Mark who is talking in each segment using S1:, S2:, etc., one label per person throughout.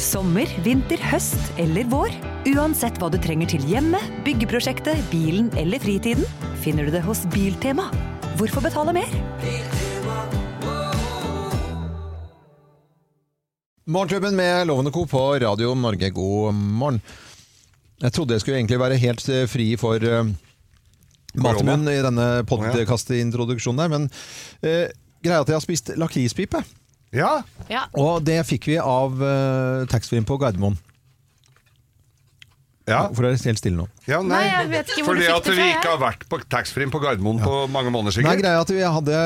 S1: Sommer, vinter, høst eller vår. Uansett hva du trenger til hjemmet, byggeprosjektet, bilen eller fritiden, finner du det hos Biltema. Hvorfor betale mer?
S2: Morgenklubben med Lovende Co. på Radio Norge, god morgen. Jeg trodde jeg skulle egentlig være helt eh, fri for uh, matmunn i denne podkastintroduksjonen der, men eh, greia er at jeg har spist lakrispipe.
S3: Ja.
S4: Ja.
S2: Og det fikk vi av uh, taxfree-en på Gardermoen.
S3: Ja.
S2: For å være helt stille nå.
S3: ja nei.
S4: Nei, jeg vet ikke hvor
S3: Fordi
S4: du fikk
S3: at
S4: det
S3: vi
S4: fra, jeg.
S3: ikke har vært på taxfree på Gardermoen på mange måneder,
S2: Nei,
S3: sikkert.
S2: greia er at vi hadde,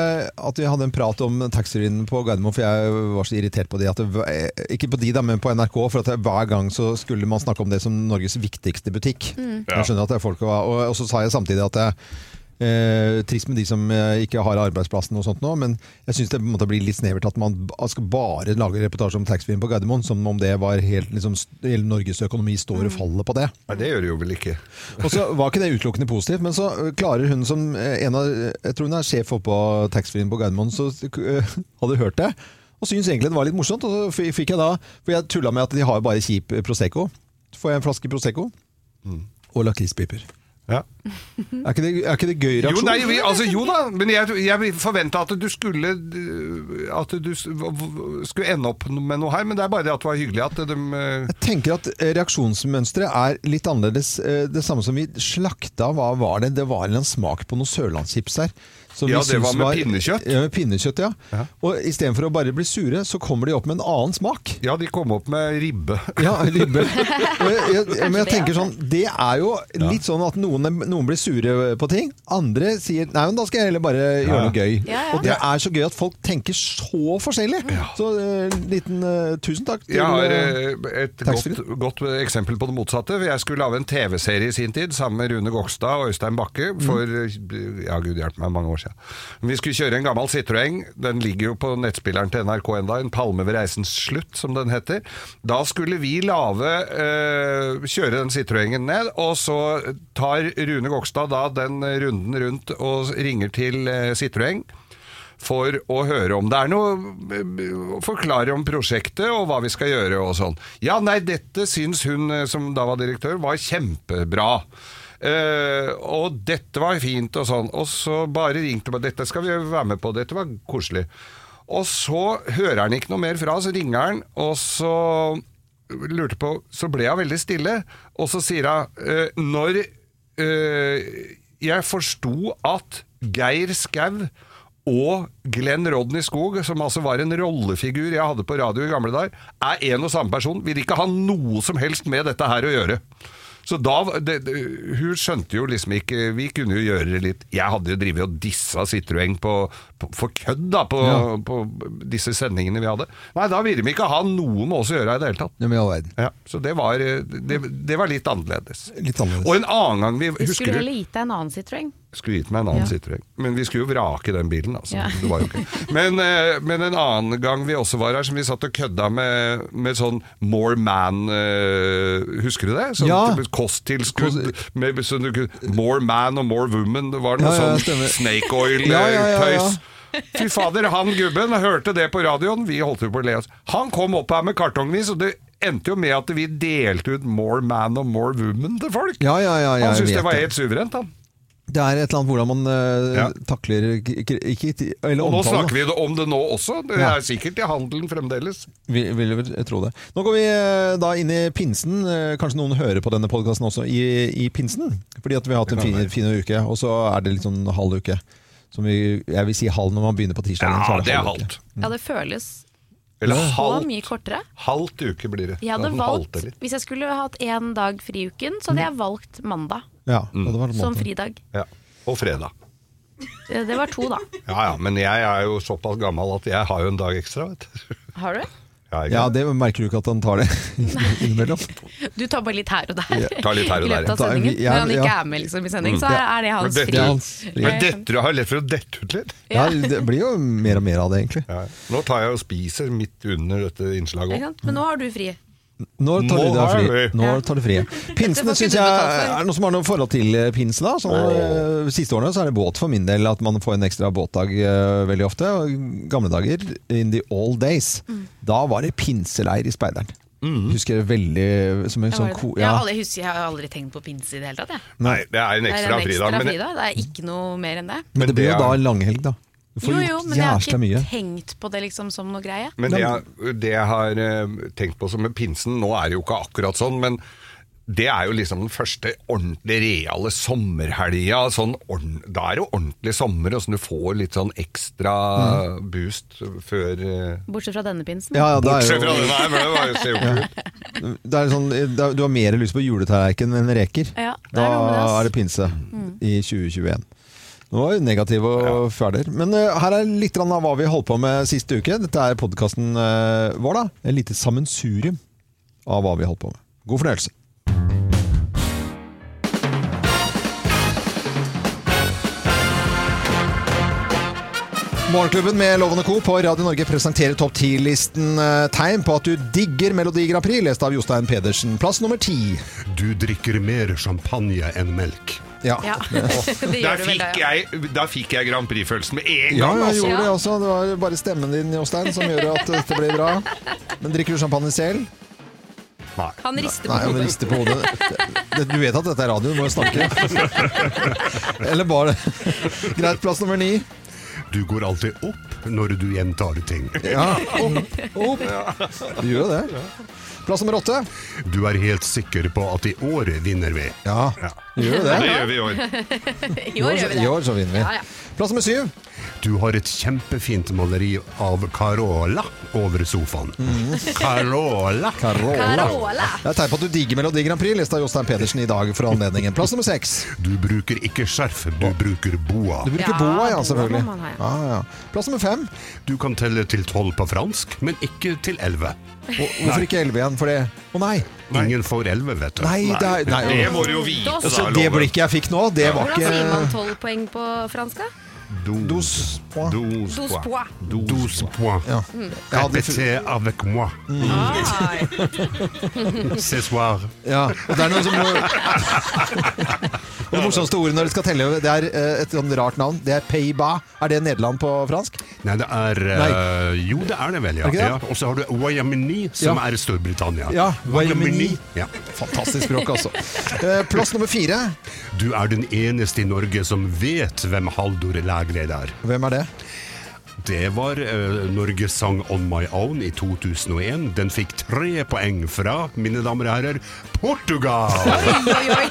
S2: at vi hadde en prat om taxfree-en på Gardermoen, for jeg var så irritert på de. At det, var- eh, ikke på de, da, men på NRK. For at det, hver gang så skulle man snakke om det som Norges viktigste butikk.
S3: Ja.
S2: Jeg skjønner at det er folk og, og, og så sa jeg samtidig at jeg Eh, trist med de som eh, ikke har arbeidsplassen og sånt nå, men jeg syns det på en måte blir litt snevert at man ba- skal bare lage reportasje om taxfree-en på Gardermoen, som om det var helt, liksom, st- hele Norges økonomi står og faller på det.
S3: Nei, det gjør det jo vel ikke.
S2: Og så var ikke det utelukkende positivt, men så ø, klarer hun som ø, en av Jeg tror hun er sjef oppe på taxfree-en på Gardermoen, så ø, hadde hørt det. Og syntes egentlig det var litt morsomt. Og så f- fikk jeg da For jeg tulla med at de har bare kjip øh, Prosecco. Så får jeg en flaske Prosecco
S3: Mm.
S2: og lakrispiper.
S3: Ja.
S2: Er, ikke det- er ikke det gøy
S3: Jo,
S2: reaksjon?
S3: nei, vi, altså, jo da, men jeg, jeg forventa at du skulle øh, At du s- v- v- skulle ende opp med noe her, men det er bare det at det var hyggelig at de øh,
S2: Jeg tenker at ø, reaksjonsmønsteret er litt annerledes. Ø, Det samme som vi slakta, hva var det? Det var en eller annen smak på noen sørlandschips her. som
S3: Ja,
S2: vi
S3: det
S2: syntes
S3: var med pinnekjøtt.
S2: Ja, med pinnekjøtt, ja.
S3: Ja.
S2: Og istedenfor å bare bli sure, så kommer de opp med en annen smak.
S3: Ja, de kom opp med ribbe.
S2: Ja, ribbe. Og jeg, jeg, men jeg tenker sånn, det er jo litt sånn at noen, noen blir sure på ting. Andre sier nei, men da skal jeg heller bare gjøre noe gøy.
S4: Ja, ja.
S2: Og det er så gøy at folk tenker så forskjellig. Så eh, liten eh, tusen takk til
S3: Jeg har
S2: eh,
S3: eh, et
S2: Taxfree.
S3: godt, godt eksempel på det motsatte. Jeg skulle lage en TV-serie i sin tid sammen med Rune Gokstad og Øystein Bakke
S2: Mm.
S3: for eh, ja, gud hjelpe meg, mange år siden. Vi skulle kjøre en gammel Citroën. Den ligger jo på nettspilleren til NRK enda, En palme ved reisens slutt, som den heter. Da skulle vi lave eh, kjøre den Citroën-en ned, og så tar Rune Gokstad da den runden rundt og ringer til eh, Citroën for å høre om det er noe å Forklare om prosjektet og hva vi skal gjøre og sånn. Ja, nei, dette syns hun eh, som da var direktør, var kjempebra. Eh, og dette var fint og sånn. Og så bare ringte hun. Dette skal vi være med på, dette var koselig. Og så hører han ikke noe mer fra, så ringer han, og så lurte på Så ble hun veldig stille, og så sier hun eh, Når eh, jeg forsto at Geir Skau og Glenn Rodney Skog, som altså var en rollefigur jeg hadde på radio i gamle dager, er en og samme person. Vil ikke ha noe som helst med dette her å gjøre. Så da, var- det, det, Hun skjønte jo liksom ikke Vi kunne jo gjøre det litt Jeg hadde jo drevet og dissa Citroën på, på, for kødd, da, på, på disse sendingene vi hadde. Nei, da ville vi ikke ha noe med oss å gjøre i det hele tatt.
S2: ja, men i all verden.
S3: Ja, så det var, eh, det, det var litt annerledes.
S2: Litt annerledes.
S3: Og en annen gang vi,
S4: Jeg
S3: Husker
S4: skulle
S3: du?
S4: heller gitt deg en annen Citroën.
S3: skulle gitt meg en annen Citroën. Men vi skulle jo vrake den bilen, altså.
S4: Ja.
S3: Det var jo ikke. Men, eh, men en annen gang vi også var her, som vi satt og kødda med, med sånn More Man eh, Husker du det? Sånn
S2: Ja.
S3: type kosttilskudd med sånn du kunne- More Man og More Woman. Det var
S2: Ja,
S3: noe
S2: ja,
S3: sånn
S2: stemmer.
S3: Snake Oil-tøys.
S2: Ja, ja, ja, ja.
S3: Fy fader, han gubben hørte det på radioen. Vi holdt jo på å le oss. Han kom opp her med kartongvis, og det endte jo med at vi delte ut More Man og More Woman til folk.
S2: Ja, ja, ja, ja,
S3: han
S2: jeg
S3: syntes det
S2: vet
S3: var
S2: det.
S3: helt suverent, han.
S2: Det er et eller annet hvordan man ø,
S3: Ja.
S2: takler ikke, ikke, Eller
S3: Og nå
S2: omtalen.
S3: snakker vi om det nå også. Det
S2: Ja.
S3: er sikkert i handelen fremdeles.
S2: Vi, vil vel tro det. Nå går vi ø, da inn i pinsen. Ø, Kanskje noen hører på denne podkasten også i, i pinsen? Fordi at vi har hatt en fin, fin uke, og så er det litt sånn halv uke. Som vi, jeg vil si halv når man begynner på tirsdag.
S3: Ja, det er
S2: halv uke.
S3: halvt.
S4: Ja, det føles
S3: Eller
S4: så mye
S3: halvt.
S4: kortere.
S3: Halvt uke blir det.
S4: Jeg hadde
S3: Sånn halvt
S4: valgt,
S3: eller?
S4: Hvis jeg skulle hatt én dag fri i uken, så hadde jeg valgt mandag
S2: Ja,
S3: Mm.
S2: og det var en
S4: som
S2: måte.
S4: fridag.
S3: Ja. Og fredag.
S4: Eh, Det var to, da.
S3: Ja ja, men jeg er jo såpass gammel at jeg har jo en dag ekstra, vet du.
S4: Har du?
S3: Ja, ikke?
S2: Ja, det merker du ikke at han tar det innimellom.
S4: Du tar bare litt her og der.
S3: tar litt her og
S4: I løpet
S3: der,
S2: ja.
S4: av sendingen.
S2: Ja,
S4: Når han ikke
S2: ja.
S4: er med liksom, i sending, så er er det hans
S3: Men dette-
S4: fri.
S2: Det er hans-
S3: Men dette har jeg lett for å dette ut litt.
S2: Ja, det blir jo mer og mer av det, egentlig.
S3: Ja. Nå tar jeg og spiser midt under dette
S4: Ikke
S3: innslaget òg.
S4: sant? Men nå har du fri.
S2: Når tar
S3: Nå
S2: du deg fri?
S3: har vi.
S2: Nå tar du fri. Pinsene
S4: Dette får
S2: syns jeg
S4: ikke du betalt for.
S2: Er det noen som har noe forhold til eh, pinse, da? Sånn,
S3: Åh.
S2: eh, siste årene så er det båt for min del, at man får en ekstra båtdag eh, veldig
S4: Mm.
S2: ofte. Og gamle dager, in the old days, da var det pinseleir i Speideren.
S3: Mm.
S2: Husker jeg veldig som en
S5: Jeg,
S2: sånn
S5: var-
S2: ko...
S5: jeg, har
S2: Ja.
S5: aldri, husker, jeg har aldri tenkt på pinse i det hele tatt. Jeg.
S3: Nei, det er en
S5: Det er
S3: ekstra
S5: en ekstra
S3: fridag. Men
S5: fridag. Det er ikke noe mer enn det.
S2: Men det
S3: det
S2: blir jo
S3: er-
S2: da en langhelg, da. Du får
S4: Jo, jo,
S2: gjort
S4: men jeg har
S2: jævla
S4: ikke
S2: mye.
S4: tenkt på det liksom som noe greie.
S3: Men det jeg, det jeg har eh, tenkt på som med pinsen, nå er det jo ikke akkurat sånn, men det er jo liksom den første ordentlig reale sommerhelga. Sånn ordn- da er det jo ordentlig sommer, og sånn du får litt sånn ekstra boost før eh,
S4: Bortsett fra denne pinsen.
S2: Ja, ja, det er
S3: Bortsett
S2: jo,
S3: fra det der, men det var jo ser jo ikke ut.
S2: det er sånn, det er, du har mer lyst på juletallerken enn reker.
S4: Ja, det er
S2: da
S4: noe med det, ass. Mm.
S2: er det pinse i 2021. Nå var vi negative og ferder. Men eh, her er litt grann av hva vi holdt på med siste uke. Dette er podkasten vår, da. Et lite sammensurium av hva vi holdt på med. God fornøyelse. Morgenklubben med Lovende Co. på Radio Norge presenterer topp 10-listen eh, tegn på at du digger Melodi Grand Prix, lest av Jostein Pedersen. Plass nummer ti.
S6: Du drikker mer champagne enn melk.
S2: Ja.
S5: Ja, det gjør
S3: Da
S5: du vel
S3: fikk,
S5: det.
S3: jeg, da fikk jeg Grand Prix-følelsen med en
S2: Ja,
S3: gang,
S2: jeg
S3: altså.
S2: gjorde det også. Det var bare stemmen din, Jostein, som gjør at dette blir bra. Men drikker du champagne selv?
S3: Nei.
S5: Han rister på
S2: Nei, han
S5: hodet.
S2: rister på hodet. Det- Du vet at dette er radio, du må jo snakke. Eller bare Greit, plass nummer ni.
S6: Du går alltid opp når du gjentar ting.
S2: Ja, opp, opp. Du gjør jo det. Plass nummer åtte.
S6: Du er helt sikker på at i år vinner vi.
S2: Ja, du gjør jo
S3: Det
S2: det.
S3: gjør vi i år.
S5: I år gjør vi
S2: I
S5: det.
S2: år så vinner
S5: Ja,
S2: vi.
S5: ja.
S2: Plass nummer syv.
S6: Du har et kjempefint maleri av Carola over sofaen. Carola!
S2: Carola.
S5: Carola.
S2: Det er tegn på at du digger Melodi Grand Prix, lest av Jostein Pedersen i dag for anledningen. Plass nummer seks.
S6: Du bruker ikke skjerf, du bruker boa.
S2: Du bruker
S5: Ja,
S2: boa, ja,
S5: boa
S2: selvfølgelig.
S5: må man ha, ja.
S2: Ja, ja. Plass nummer fem.
S6: Du kan telle til tolv på fransk, men ikke til elleve.
S2: Hvorfor ikke elleve igjen? For det Å nei!
S6: Ingen får elleve, vet du.
S2: Nei, det er nei.
S3: Det må du jo vite, da,
S2: Så Altså, det
S3: Loven.
S2: blikket jeg fikk nå, det var
S5: Hvordan sier man
S2: ikke
S5: tolv poeng på fransk? da?
S6: Douze
S2: Dos. Ja,
S6: douze
S5: Douze
S6: points.
S5: points.
S6: Douze points.
S2: jeg hadde, fu-
S6: Répétez avec moi.
S5: Ai.
S6: Ce soir.
S2: ja. Og det er noe som Og det morsomste ordet når de skal telle, det er eh, et sånn rart navn. Det er Peiba. Er det Nederland på fransk?
S6: Nei, det er eh, Jo, det er det vel, ja.
S2: Er det ikke
S6: ja.
S2: det?
S6: Og så har du Wyoming, som
S2: Ja.
S6: er Storbritannia.
S2: Ja, Wyoming.
S6: Ja.
S2: Fantastisk språk, altså. Eh, Plass nummer fire.
S6: Du er den eneste i Norge som vet hvem Haldor Lægreid er.
S2: Hvem er det?
S6: Det var eh, Norges sang On My Own i 2001. Den fikk tre poeng fra, mine damer og herrer, Portugal!
S5: Oi, oi, oi.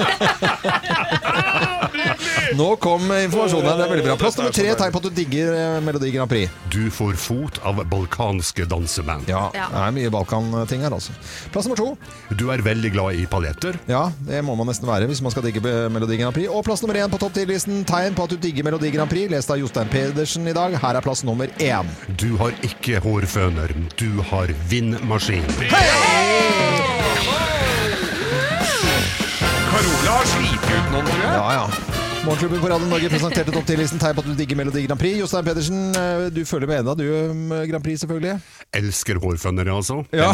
S2: Nå kom informasjonen her. Det er veldig bra. Plass nummer tre. Tegn på at du digger eh, Melodi Grand Prix.
S6: Du får fot av balkanske danseband.
S2: Ja, det
S5: Ja.
S2: er mye Balkan-ting her, altså. Plass nummer to.
S6: Du er veldig glad i paljetter.
S2: Ja, det må man nesten være hvis man skal digge Melodi Grand Prix. Og plass nummer én på topp 10-listen. Tegn på at du digger Melodi Grand Prix, lest av Jostein Pedersen i dag. Her er plass nummer én.
S6: Du har ikke hårføner, du har vindmaskin.
S3: Carola har slitt ut noen, tror jeg.
S2: Ja, ja. Morgenklubben på Radio Norge presenterte topp 10-listen. Tegn på at du digger Melodi Grand Prix. Jostein Pedersen, eh, du følger med ennå, du, eh, Grand Prix selvfølgelig.
S6: Elsker hårføner, altså.
S2: Ja.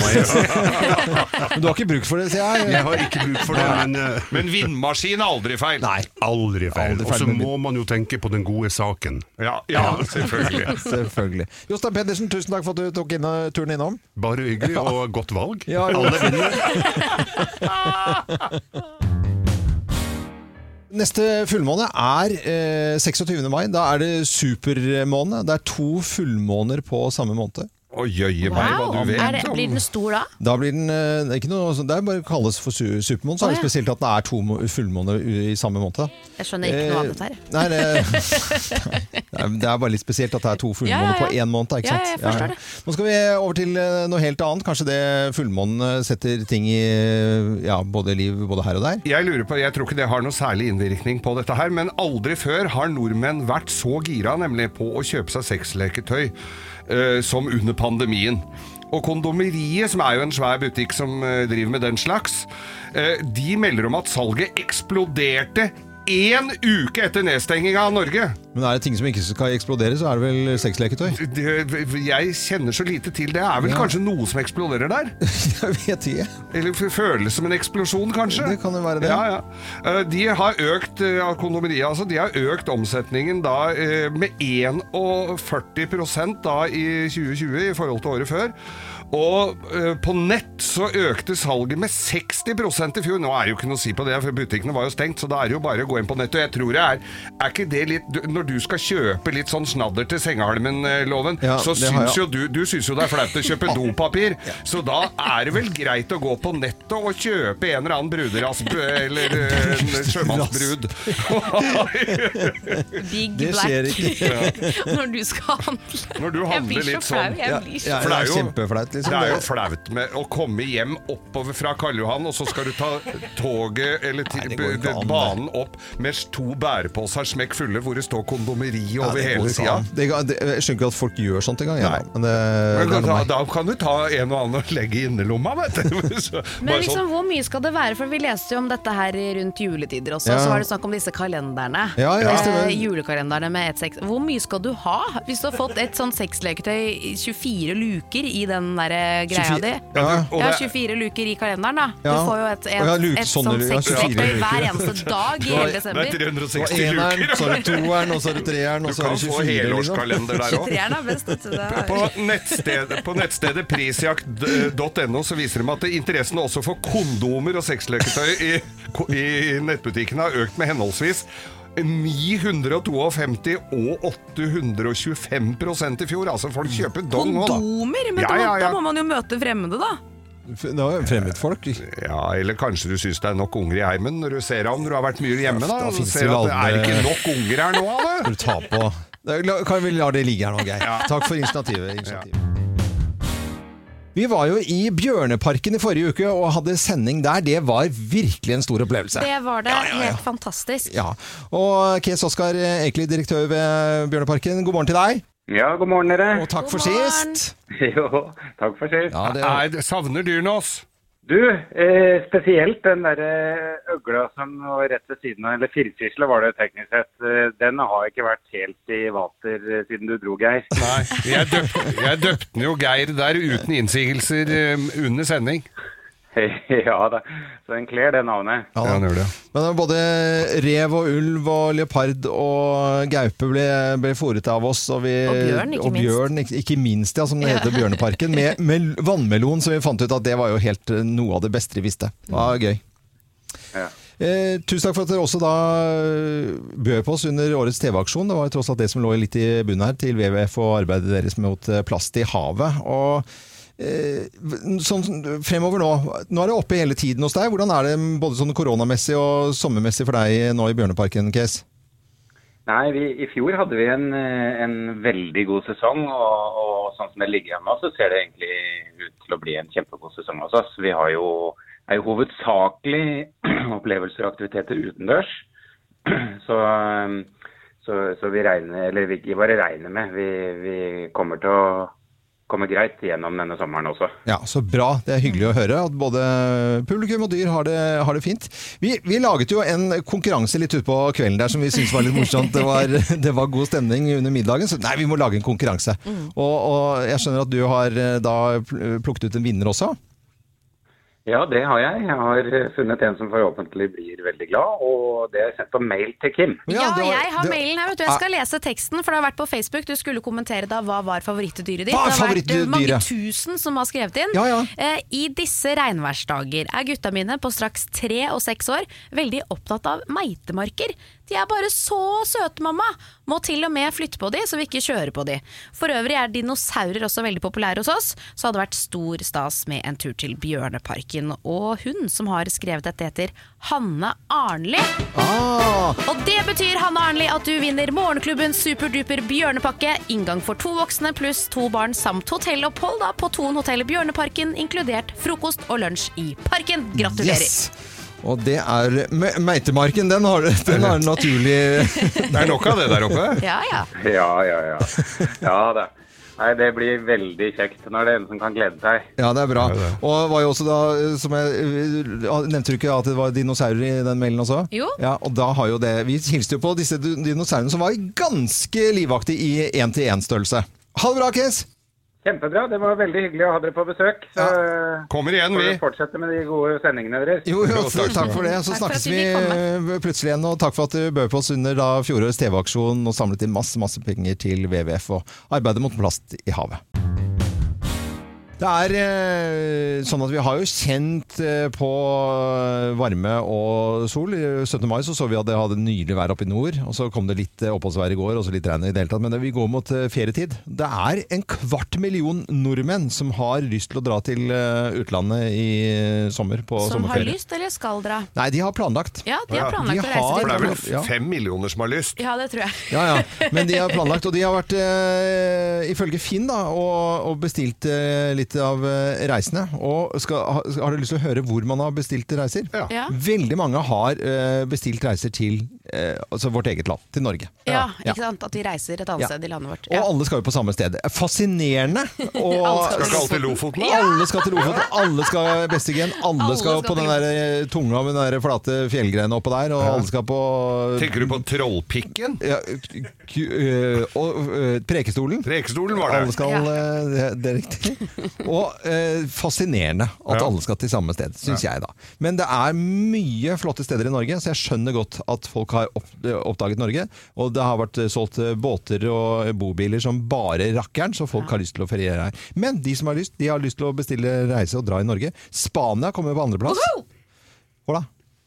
S2: Men du har ikke bruk for det, sier jeg.
S6: Jeg har ikke bruk for det, men eh,
S3: Men vindmaskin er aldri feil.
S2: Nei.
S6: aldri feil.
S2: Aldri feil,
S6: Og så
S2: men-
S6: må man jo tenke på den gode saken.
S3: Ja, ja selvfølgelig.
S2: Selvfølgelig. Jostein Pedersen, tusen takk for at du tok inno- turen innom.
S6: Bare hyggelig og godt valg.
S2: Ja, jo.
S6: Alle vinner.
S2: Neste fullmåne er eh, 26. mai. Da er det supermåne. Det er to fullmåner på samme måned.
S3: Å jøye meg hva
S4: Wow!
S3: du vet.
S4: Er det, blir den stor da?
S2: Da blir den eh, det er ikke noe, sånn- Det er bare å kalles for su supermåne. Så er det
S4: Å, ja.
S2: spesielt at det er to må- fullmåner u- i samme måned.
S4: Jeg skjønner ikke
S2: Eh,
S4: noe annet her.
S2: Nei, det, det er- det er bare litt spesielt at det er to
S4: Ja, ja,
S2: fullmåner
S4: ja.
S2: på én måned. Ikke
S4: Ja,
S2: sant?
S4: ja, jeg forstår det.
S2: Nå skal vi over til eh, noe helt annet. Kanskje det fullmånen eh, setter ting i ja, både liv både her og der.
S3: Jeg lurer på, jeg tror ikke det har noe særlig innvirkning på dette her, men aldri før har nordmenn vært så gira nemlig på å kjøpe seg sexleketøy eh, som under pandemien. Og Kondomeriet, som er jo en svær butikk som eh, driver med den slags, eh, de melder om at salget eksploderte én uke etter nedstenginga av Norge.
S2: Men er det ting som ikke skal eksplodere, så er det vel sexleketøy.
S3: Det- Jeg kjenner så lite til det. Det er vel
S2: Ja.
S3: kanskje noe som eksploderer der?
S2: Jeg vet ikke.
S3: Eller f- føles som en eksplosjon, kanskje.
S2: Det kan jo være det.
S3: Ja, ja. Eh, De har økt eh, av kondomeriet, altså, de har økt omsetningen da eh, med 41 da i 2020 i forhold til året før. Og eh, på nett så økte salget med 60 i fjor. Nå er det jo ikke noe å si på det, for butikkene var jo stengt, så da er det jo bare å gå inn på nett. Og jeg tror det er Er ikke det litt du- Når du skal kjøpe litt sånn snadder til Sengehalmen-loven,
S2: Ja,
S3: så
S2: det har
S3: syns
S2: jeg.
S3: jo du Du syns jo det er flaut å kjøpe dopapir, så da er det vel greit å gå på nettet og kjøpe en eller annen bruderasp eller eh, en sjømannsbrud.
S5: Big
S2: Det
S5: black.
S2: skjer
S5: Når du skal handle.
S3: Når du
S5: Jeg
S3: handler
S5: blir så
S3: litt
S5: flau.
S3: sånn.
S2: Ja,
S5: Jeg blir
S2: ja,
S5: så
S3: For det er jo-
S2: kjempeflaut, liksom.
S3: Det er jo flaut med å komme hjem oppover fra Karl Johan, og så skal du ta toget eller til,
S2: Nei, det går ikke
S3: b-
S2: an, det.
S3: banen opp med to bæreposer smekk fulle hvor det står kondomeri
S2: Ja,
S3: over
S2: det går
S3: hele
S2: ikke
S3: sida.
S2: an. Det ga- det- Jeg skjønner ikke at folk gjør sånt engang. jeg,
S3: Nei.
S2: da. Men det,
S3: Men
S2: det er
S3: kan
S2: noe
S3: ta,
S2: meg.
S3: da kan du ta en og annen og legge i innerlomma, vet du. Så,
S5: Men
S3: bare sånn.
S5: liksom, hvor mye skal det være? For vi leste jo om dette her rundt juletider også.
S2: Ja.
S5: Så var det snakk om disse kalenderne.
S2: Ja, ja, stemmer.
S5: eh, julekalenderne med ett sex. Hvor mye skal du ha? Hvis du har fått et sånn sexleketøy i 24 luker i den der eh, greia
S2: 24
S5: di.
S2: Ja,
S3: Ja, og
S5: Ja,
S3: det-
S5: 24 luker i kalenderen, da.
S2: Ja.
S5: Du får jo et,
S2: Å,
S5: et,
S2: ja, luke-
S5: et
S2: sånne
S5: sånn
S2: luker. Ja, 24
S5: sexleketøy hver
S2: luker.
S5: eneste dag i
S3: sånn,
S5: hele
S3: det er
S5: desember.
S2: Det var
S3: 360
S2: eneren,
S3: luker.
S2: så er det toeren, og så er det treeren,
S3: Du
S2: og så er
S3: kan
S2: det
S3: få
S2: 24. Liksom.
S3: helårskalender der òg.
S5: Treeren er best. vet du. Det er-
S3: På nettstedet, på nettstedet prisjakt.no så viser de at interessen også for kondomer og sexleketøy i, i nettbutikken har økt med henholdsvis 952 og 825 i fjor. Altså, folk kjøper dong nå, da.
S5: Kondomer? Men
S3: Ja,
S5: da,
S3: ja, ja.
S5: da må man jo møte fremmede, da.
S2: Det var jo fremmedfolk.
S3: Ja, eller kanskje du syns det er nok unger i heimen når du ser av når du har vært mye hjemme. da,
S2: Da
S3: og
S2: finnes
S3: ser
S2: vel
S3: at det er
S2: alle-
S3: ikke nok unger her nå,
S2: Skal
S3: Anne.
S2: du ta på Det er- la- Kan vi la det ligge her nå, Geir? Takk for initiativet. initiativet. Vi var jo i Bjørneparken i forrige uke og hadde sending der. Det var virkelig en stor opplevelse.
S4: Det var det. Helt fantastisk.
S2: Ja. Og Kes Oskar Ekeli, direktør ved Bjørneparken, god morgen til deg.
S7: Ja, god morgen dere.
S2: Og takk for
S4: morgen.
S2: sist.
S7: Jo, takk for sist.
S2: Ja, det,
S3: Nei, det savner dyrene oss.
S7: Du, eh, spesielt den der eh, øgla som var rett ved siden av, eller firsysla var det teknisk sett, eh, den har ikke vært helt i vater eh, siden du dro, Geir.
S3: Nei, jeg døpte, jeg døpte den jo Geir der uten innsigelser eh, under sending.
S7: ja da, så den kler det navnet.
S2: Ja, da.
S3: han gjør det.
S2: Men både rev og ulv og leopard og gaupe ble, ble fôret av oss. Og, vi,
S5: Og bjørn, ikke
S2: og
S5: minst.
S2: bjørn, ikke- ikke minst, ja, som det heter Bjørneparken. Med, med vannmelon, som vi fant ut at det var jo helt eh, noe av det beste vi visste. Det var gøy.
S7: Ja.
S2: Eh, tusen takk for at dere også da eh, bød på oss under årets TV-aksjon. Det var jo tross alt det som lå litt i bunnen her, til WWF og arbeidet deres mot eh, plast i havet. Og eh, v- sånn som- fremover nå, nå er det oppe hele tiden hos deg. Hvordan er det både sånn koronamessig og sommermessig for deg nå i Bjørneparken, Kes?
S7: Nei, vi, i fjor hadde vi en, eh, en veldig god sesong, og, og sånn som det ligger an nå, så ser det egentlig ut til å bli en kjempegod sesong hos oss. Vi har jo, er jo hovedsakelig opplevelser og aktiviteter utendørs, så, eh, så, så vi regner, eller vi vi bare regner med, vi, vi kommer til å komme greit gjennom denne sommeren også.
S2: Ja, Så bra. Det er hyggelig å høre at både publikum og dyr har det, har det fint. Vi, vi laget jo en konkurranse litt utpå kvelden der som vi syntes var litt morsomt. Det var, det var god stemning under middagen, så nei, vi må lage en konkurranse.
S4: Mm.
S2: Og, og jeg skjønner at du har eh, da pl- plukket ut en vinner også.
S7: Ja, det har jeg. Jeg har eh, funnet en som forhåpentlig blir veldig glad, og det er sendt på mail til Kim.
S4: Ja,
S2: det var-
S4: jeg har
S2: det- Ah.
S4: mailen her. vet du. Jeg skal lese teksten, for det har vært på Facebook. Du skulle kommentere da hva var favorittdyret ditt.
S2: Hva er
S4: det har vært eh, mange
S2: favorittdyret?
S4: tusen som har skrevet inn.
S2: Ja, ja.
S4: Eh, I disse regnværsdager er gutta mine på straks tre og seks år veldig opptatt av meitemarker. De er bare så søte, mamma! Må til og med flytte på de, så vi ikke kjører på de. For øvrig er dinosaurer også veldig populære hos oss, så hadde det vært stor stas med en tur til Bjørneparken. Og hun som har skrevet dette, heter Hanne Arnli.
S2: Ah,
S4: Og det betyr Hanne Arnli at du vinner Morgenklubbens superduper bjørnepakke. Inngang for to voksne pluss to barn samt hotellopphold da på Thon hotell Bjørneparken, inkludert frokost og lunsj i parken. Gratulerer.
S2: yes! Og det er Me- Meitemarken. Den har, du- den har du naturlig
S3: Det er nok av det der oppe.
S4: Ja, ja.
S7: Ja, ja, ja. Ja da. Nei, det blir veldig kjekt. Nå er det en som kan glede seg.
S2: Ja, det er bra. Og det var jo også da, eh, som jeg eh, Nevnte du ikke at det var dinosaurer i den mailen også?
S4: Jo.
S2: Ja, og da har jo det Vi hilste jo på disse du- dinosaurene som var ganske livaktige i én-til-én-størrelse. Ha det bra, Kes!
S7: Kjempebra. Det var veldig hyggelig å ha dere på besøk. Så eh,
S3: Kommer igjen,
S7: får
S3: vi.
S7: dere fortsette med de gode sendingene deres.
S2: Jo, jo,
S3: Jo, takk
S2: takk,
S3: skal du
S2: for det. Så
S4: Takk for
S2: snakkes
S4: at
S2: vi
S4: vi fikk
S2: eh, plutselig igjen, og takk for at du bød på oss under da fjorårets TV-aksjon og samlet inn masse, masse penger til WWF og arbeidet mot plast i havet. Det er eh, sånn at vi har jo kjent eh, på eh, varme og sol. I 17. mai så, så vi at det hadde nydelig vær oppe i nord, og så kom det litt eh, oppholdsvær i går, og så litt regn i det hele tatt. Men det, vi går mot eh, ferietid. Det er en kvart million nordmenn som har lyst til å dra til eh, utlandet i eh, sommer på
S4: Som har
S2: sommerferie.
S4: lyst eller skal dra.
S2: Nei, de har planlagt.
S4: Ja, de
S3: Ja,
S4: har planlagt
S2: de
S4: å
S2: har-
S4: reise
S3: For
S4: dit.
S3: det er
S2: Ja.
S3: vel fem millioner som har lyst.
S4: Ja, det tror jeg.
S2: Ja, ja. Men de har planlagt, og de har vært eh, ifølge Finn da, og, og bestilt eh, litt av eh, reisene. Og skal, ha- har du lyst til å høre hvor man har bestilt reiser?
S3: Ja.
S4: Ja.
S2: Veldig mange har eh, bestilt reiser til eh, altså vårt eget land, til Norge.
S4: Ja,
S2: Ja.
S4: ikke sant? At de reiser et annet
S2: Ja.
S4: sted i landet vårt.
S2: Og
S4: Ja.
S2: alle skal jo på samme sted. Fascinerende! Og
S4: Alle
S3: Skal ikke alltid Lofoten, da?
S2: alle skal til Lofoten, alle skal Bestigen, alle,
S4: Alle
S2: skal,
S4: skal
S2: på
S4: til
S2: den der eh, tunga med den der flate fjellgreiene oppå der, og alle skal på
S3: Tenker du på Trollpikken?
S2: ja, k øh, og, øh, Prekestolen.
S3: Prekestolen var
S2: Alle
S3: det.
S2: skal, eh, det, det er riktig. Og eh, fascinerende at
S3: Ja.
S2: alle skal til samme sted, syns jeg da. Men det er mye flotte steder i Norge, så jeg skjønner godt at folk har opp, eh, oppdaget Norge. Og det har vært eh, solgt eh, båter og bobiler som bare rakkeren, så folk har lyst til å feriere her. Men de som har lyst, de har lyst til å bestille reise og dra i Norge. Spania kommer på andreplass. Hola.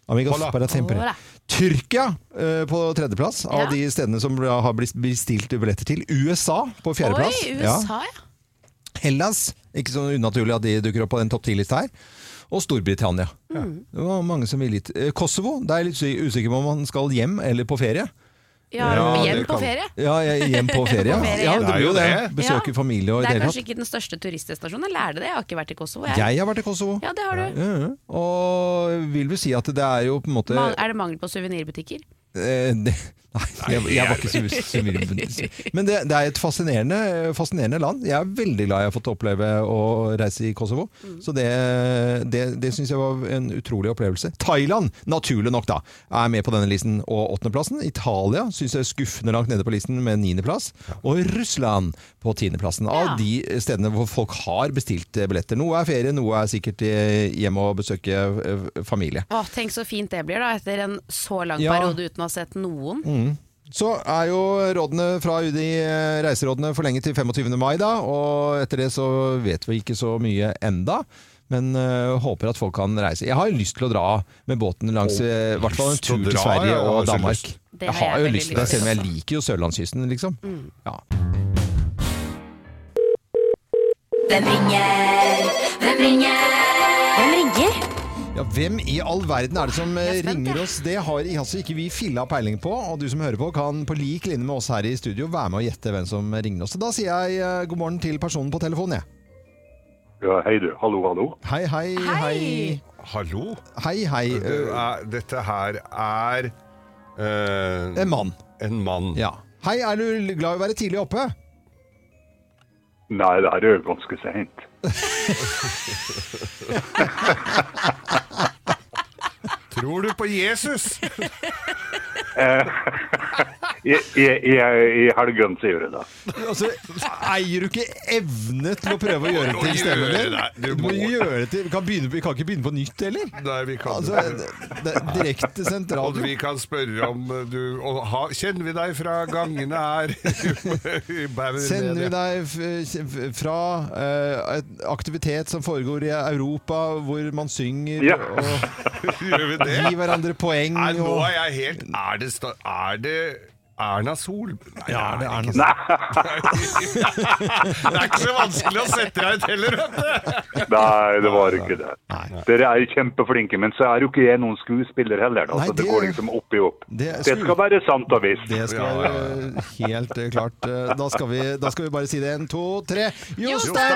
S2: Amigos,
S3: Hola.
S2: para siempre.
S4: Hola.
S2: Tyrkia eh, på tredjeplass av
S4: Ja.
S2: de stedene som har blitt bestilt billetter til. USA på
S4: Oi,
S2: fjerdeplass.
S4: USA, ja.
S2: Hellas. Ikke så unaturlig at de dukker opp på den topp 10-lista her. Og Storbritannia. Mm. Det var mange som ville hit. Eh, Kosovo. Da er jeg litt sy- usikker på om man skal hjem eller på ferie.
S4: Ja,
S3: Ja,
S4: hjem
S3: det
S4: på
S3: kan-
S4: ferie.
S2: Ja, jeg, hjem på ferie.
S4: På ferie,
S2: ja,
S4: ja.
S2: det blir jo det. Besøke
S4: Ja.
S2: familie og i
S4: Det
S2: det
S4: er
S2: hele tatt.
S4: kanskje ikke den største turistdestinasjonen. Jeg lærte det, jeg har ikke vært i Kosovo. Jeg.
S2: Jeg har vært i Kosovo.
S4: Ja, det har du.
S2: Ja, ja. Og vil vel si at det er jo på en måte
S4: Ma- Er det mangel på suvenirbutikker?
S2: Eh, det, nei, jeg, jeg var ikke så sumirbundis. Men det, det er et fascinerende, fascinerende land. Jeg er veldig glad jeg har fått oppleve å reise i Kosovo. Så det, det, det syns jeg var en utrolig opplevelse. Thailand, naturlig nok, da, er med på denne listen og åttendeplassen. Italia syns jeg er skuffende langt nede på listen med niendeplass. Og Russland på tiendeplassen. Av
S4: Ja.
S2: de stedene hvor folk har bestilt eh, billetter. Noe er ferie, noe er sikkert eh, hjem og besøke eh, familie.
S4: Å, tenk så fint det blir da, etter en så lang
S2: Ja. Mm.
S4: periode uten å ha sett noen.
S2: Så er jo rådene fra UDI, eh, reiserådene, forlenget til 25. mai, da. Og etter det så vet vi ikke så mye enda. Men eh, håper at folk kan reise. Jeg har jo lyst til å dra med båten langs eh, i hvert fall en
S3: lyst
S2: tur
S3: til å
S2: til
S3: dra,
S2: Sverige
S3: ja, jeg har
S2: og
S3: så
S2: Danmark.
S3: lyst.
S4: Det
S2: Jeg
S4: har
S2: har
S4: jeg
S2: jo
S4: veldig
S2: lyst til det,
S4: lyst
S2: selv
S4: til. Mm.
S2: om jeg liker jo sørlandskysten, liksom. Ja.
S8: Hvem ringer? Hvem ringer? Hvem ringer?
S2: Ja, Hvem i all verden er det som eh, ringer oss? Det har i- altså ikke vi filla peiling på. Og du som hører på, kan på lik linje med oss her i studio være med og gjette hvem som ringer oss. Så da sier jeg eh, god morgen til personen på telefonen, jeg.
S9: Ja, hei du. Hallo, hallo.
S2: Hei, hei, hei.
S3: Hallo?
S2: Hei, hei.
S3: Det
S2: eh,
S3: er, dette her er eh,
S2: En mann.
S3: en mann.
S2: Ja. Hei, er du glad i å være tidlig oppe?
S9: Nei, det her er jo ganske seint.
S3: Tror du på Jesus?
S9: I, i, i, I helgen, sier du da.
S2: Altså, eier du ikke evne til å prøve å gjøre
S3: Du må
S2: til stemmen
S3: gjøre
S2: din?
S3: det,
S2: Du
S3: du
S2: må
S3: må.
S2: gjøre det til Vi kan, begynne, vi kan ikke begynne på nytt, heller?
S3: Nei, vi kan
S2: Altså,
S3: ikke.
S2: det- det er direkte
S3: Og
S2: sentralt.
S3: vi kan spørre om eh, du og ha, Kjenner vi deg fra gangene her? i Bauer
S2: Sender vi
S3: Media?
S2: deg f- fra eh, et aktivitet som foregår i Europa, hvor man synger
S9: Ja.
S2: og
S3: Gjør vi
S2: gir
S3: det?
S2: hverandre poeng
S3: Nei, nå
S2: og
S3: er jeg helt Er det, sta- er det Erna Sol? Nei,
S2: Ja, det er noe
S9: Nei,
S3: det er ikke så vanskelig å sette deg ut heller, vet du!
S9: nei, det var ikke det.
S2: Nei.
S9: Dere er jo kjempeflinke, men så er jo ikke jeg noen skuespiller heller. Da,
S2: Nei,
S9: så det
S2: det-
S9: går liksom opp i opp.
S2: Det
S9: Det,
S2: er sku-
S9: skal være sant og visst.
S2: Det skal
S3: Ja, ja,
S2: være helt eh, klart. Eh, Da skal vi, da skal vi bare si det. En, to, tre. Jostein
S3: Jostein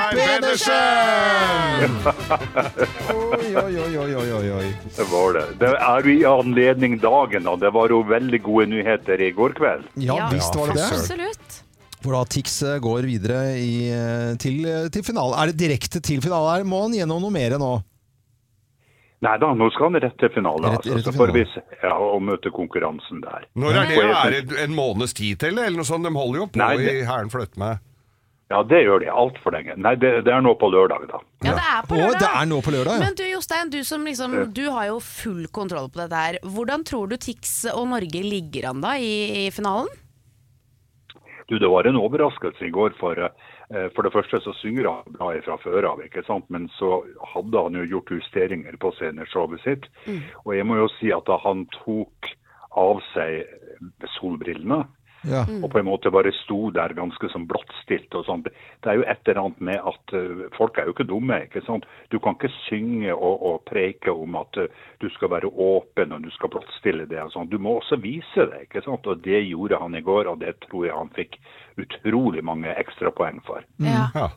S2: Pedersen! Oi, oi, oi, oi, oi, oi, oi.
S9: Det var det. Det er jo i anledning dagen, da. Det var jo veldig gode nyheter i går kveld.
S2: Ja
S4: Ja.
S2: visst var det det.
S4: Absolutt.
S2: For da Tix eh, går videre i, eh, til, eh, til finale. Er det direkte til finale her? Må han gjennom noe mer nå?
S9: Nei da, nå skal han rett til finale.
S2: Rett-
S9: Altså.
S2: rett til
S9: Så får vi
S2: finale.
S9: se ja, og møte konkurransen der.
S3: Når er det? Er det en måneds tid til, eller noe sånt? De holder jo på
S9: Nei, det-
S3: i Hæren flytte meg.
S9: Ja, det gjør de altfor lenge. Nei, det, det er nå på lørdag, da.
S4: Ja, det er på
S2: Å,
S4: lørdag.
S2: det er nå på lørdag, ja.
S4: Men du Jostein, du, som liksom, du har jo full kontroll på dette her. Hvordan tror du Tix og Norge ligger an da i, i finalen?
S9: Du, det var en overraskelse i går, for eh, Eh, For det første så synger han bra fra før av, ikke sant? men så hadde han jo gjort justeringer på sceneshowet sitt. Og jeg må jo si at da han tok av seg solbrillene,
S2: Ja.
S9: og på en måte bare sto der ganske som blottstilt og sånt. Det er jo et eller annet med at eh, folk er jo ikke dumme, ikke sant. Du kan ikke synge og, og preike om at eh, du skal være åpen og du skal blottstille det og sånn. Du må også vise det, ikke sant. Og det gjorde han i går, og det tror jeg han fikk utrolig mange ekstrapoeng for.
S2: Mm.
S4: Ja.
S3: Ja.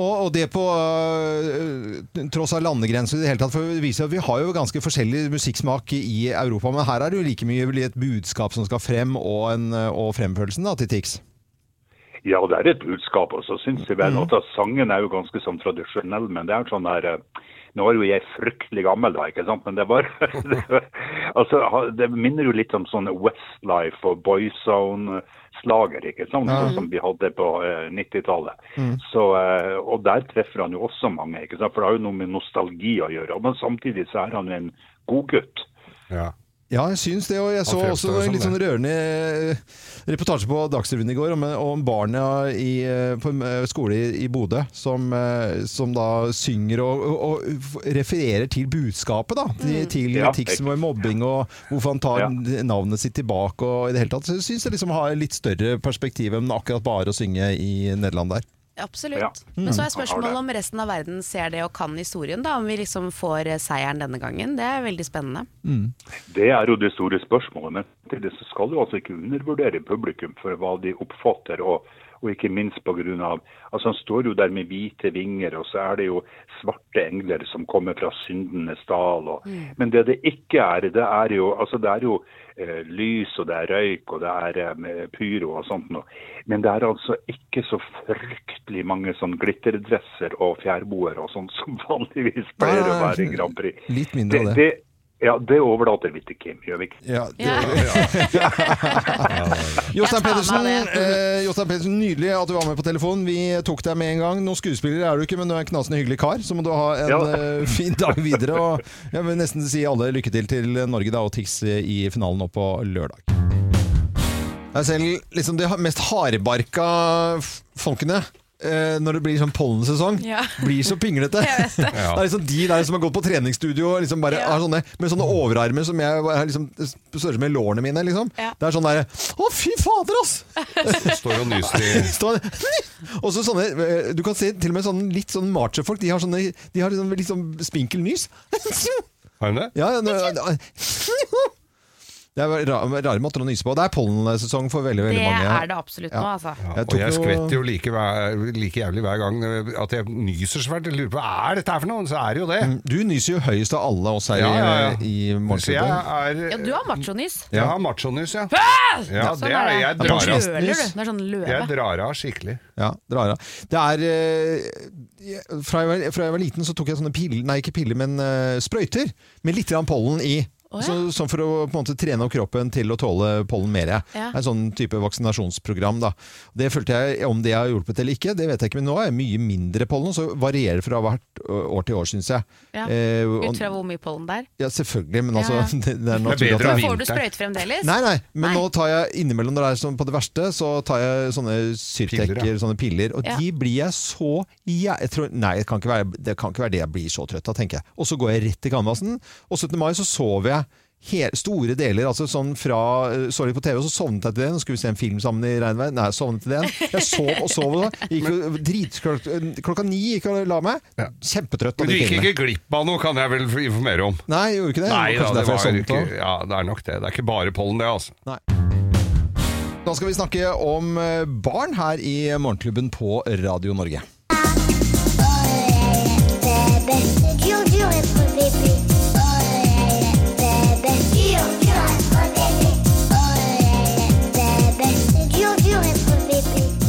S2: Og, og det på øh, tross av landegrenser i det hele tatt, for det viser at vi har jo ganske forskjellig musikksmak i Europa, men her er det jo like mye vel et budskap som skal frem, og, en, øh, og fremførelsen da, til Tix.
S9: Ja, det er et budskap. Og så syns jeg vel at sangen er jo ganske sånn tradisjonell, men det er sånn der eh, Nå er jo jeg fryktelig gammel, da, ikke sant, men det var det var- Altså, ha- det minner jo litt om sånne Westlife og Boyzone-slager, ikke sant, sånn som vi hadde på eh, 90-tallet. Så, eh, Og der treffer han jo også mange, ikke sant, for det har jo noe med nostalgi å gjøre. Men samtidig så er han jo en god gutt.
S3: Ja.
S2: Ja, jeg syns det, og jeg så
S3: fremstår
S2: også
S3: jo
S2: en
S3: sånn,
S2: litt sånn rørende øh, reportasje på Dagsrevyen i går om, eh, om barna i, øh, på en øh, skole i, i Bodø som, øh, som da synger og, og, og refererer til budskapet, da. Til, til
S9: Mm. Ja.
S2: Tix med mobbing og hvorfor han tar
S9: Ja.
S2: navnet sitt tilbake og i det hele tatt. Så jeg syns jeg liksom har litt større perspektiv enn akkurat bare å synge i Nederland der.
S9: Ja.
S4: Absolutt. Men
S2: Mm.
S4: så er
S9: Han har
S4: spørsmålet
S9: det.
S4: om resten av verden ser det og kan historien, da. Om vi liksom får eh, seieren denne gangen. Det er veldig spennende.
S9: Det er jo det store spørsmålet. Men samtidig så skal du altså ikke undervurdere publikum for hva de oppfatter. og og ikke minst pga. Altså han står jo der med hvite vinger, og så er det jo svarte engler som kommer fra syndenes dal. Og, Men det det ikke er, det er jo, altså det er jo eh, lys, og det er røyk, og det er eh, pyro og sånt noe. Men det er altså ikke så fryktelig mange sånn glitterdresser og fjærboer og sånn som vanligvis pleier å
S2: Nei,
S9: være i Grand Prix.
S2: litt mindre av det.
S9: Ja, det overlater vi til Kim Gjøvik.
S2: Ja, det,
S4: Ja.
S2: Jostein
S4: Jeg tar
S2: Pedersen,
S4: meg det.
S2: eh, Jostein Pedersen, nydelig at du var med på telefonen. Vi tok deg med en gang. Noen skuespiller er du ikke, men du er en knasende hyggelig kar. Så må du ha en
S9: Ja.
S2: eh, fin dag videre. Og jeg vil nesten si alle lykke til til Norge da, og Tix i finalen nå på lørdag. Det er selv liksom de mest hardbarka f- folkene. eh, når det blir sånn pollensesong,
S4: Ja.
S2: blir så pinglete. det. er liksom de der som har gått på treningsstudio og liksom bare
S4: Ja.
S2: har sånne, med sånne overarmer som jeg har liksom, størrelse med lårene mine. Liksom.
S4: Ja.
S2: Det er sånn der Å, fy fader, ass!
S3: Står og nyser i
S2: Stå, og så sånne eh, Du kan se til og med sånne litt sånn macho-folk. De har, sånne, de har liksom, litt sånn spinkel nys.
S3: Har hun det?
S2: Ja, ja, nå- det er ra- rare måter å nyse på. Det er pollensesong for veldig, veldig
S4: Det
S2: mange.
S4: er det absolutt nå, altså.
S3: Ja,
S2: Jeg
S3: og
S2: tok
S3: jeg
S2: noe-
S3: skvetter jo like, hver- like jævlig hver gang eh, at jeg nyser så fælt. Jeg lurer på hva er dette her for noe, så er det jo det.
S2: Du nyser jo høyest av alle oss her
S3: Ja, ja, ja.
S2: Mm. i, eh, i
S3: Så jeg
S2: morgenklubben.
S3: er
S4: Ja, du har machonys.
S3: Jeg har machonys, ja. ja
S4: Sånn
S3: det
S4: er
S3: er,
S4: det.
S3: jeg,
S4: Du
S3: drar av,
S4: Løler, du. Det er sånn løve.
S3: jeg drar av skikkelig.
S2: Ja, drar av. Det er eh, jeg- fra, jeg var, fra jeg var liten, så tok jeg sånne piller Nei, ikke piller, men eh, sprøyter med litt grann pollen i.
S4: Å, ja.
S2: så, sånn for å på en måte trene opp kroppen til å tåle pollen mer. Ja.
S4: Ja.
S2: En sånn type vaksinasjonsprogram. Da. Det følte jeg, Om det har hjulpet eller ikke, det vet jeg ikke, men nå er jeg mye mindre pollen. Så varierer det fra hvert eh, år til år, syns jeg.
S4: Ja.
S2: Eh, og-
S4: Ut fra hvor mye pollen det er.
S2: ja, selvfølgelig, men altså
S4: Ja, ja.
S2: Det, det er naturlig at
S3: bedre
S2: det er
S3: å vite.
S4: Får du sprøyte fremdeles?
S2: Nei, nei, men
S4: Nei.
S2: nå tar jeg innimellom når det er sånn på det verste, så tar jeg sånne syrtekker,
S3: Piller, ja.
S2: sånne piller, og
S4: Ja.
S2: de blir jeg så jæ- jeg tror, Nei, det kan, ikke være, det kan ikke være det jeg blir så trøtt av, tenker jeg. Og så går jeg rett i canvasen, og 17. mai så sover jeg he- store deler, altså sånn fra eh, Så litt på TV, og så sovnet jeg til den, og skulle vi se en film sammen i regnvær, nei, jeg sovnet til den. Jeg sov og sov, og da. gikk jo dritklok, klokka ni gikk jeg og la meg, kjempetrøtt av
S3: Men du
S2: de
S3: gikk
S2: filmene.
S3: ikke glipp av noe, kan jeg vel informere om.
S2: Nei, jeg gjorde ikke det.
S3: Nei
S2: det var
S3: da, det
S2: kanskje derfor
S3: var
S2: jeg sovnet
S3: ikke
S2: også.
S3: Ja, det er nok det. Det er ikke bare pollen, det, altså.
S2: Da skal vi snakke om eh, barn her i Morgenklubben på Radio Norge.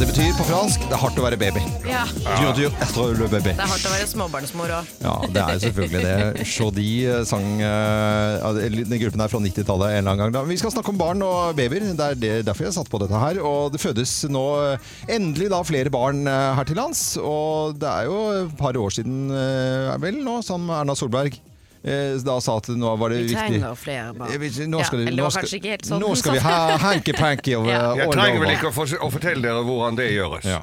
S2: Det betyr på fransk 'det er hardt å være baby'.
S5: Ja.
S2: Dur, dur, etter le baby.
S5: Det er hardt å være småbarnsmor òg.
S2: Ja, det er jo selvfølgelig det. Sjodi eh, sang eh, ja, det- Den gruppen er fra 90-tallet en eller annen gang. Da. Vi skal snakke om barn og babyer. Det er det, derfor jeg satte på dette her. Og det fødes nå eh, endelig da flere barn eh, her til lands. Og det er jo et par år siden, eh, vel nå, som Erna Solberg eh, da sa at nå var det
S4: Vi
S2: viktig
S4: trenger flere barn.
S2: Eh, vi- Nå skal,
S4: Ja,
S2: det,
S4: eller det
S2: nå
S4: var
S2: skal,
S4: kanskje ikke helt sånn
S2: nå
S4: hun
S2: skal
S4: sa
S2: vi ha
S4: det.
S2: hanky-panky over
S4: Ja.
S2: all
S3: Jeg trenger vel
S2: over.
S3: ikke å, for å fortelle dere hvordan det gjøres.
S2: Ja.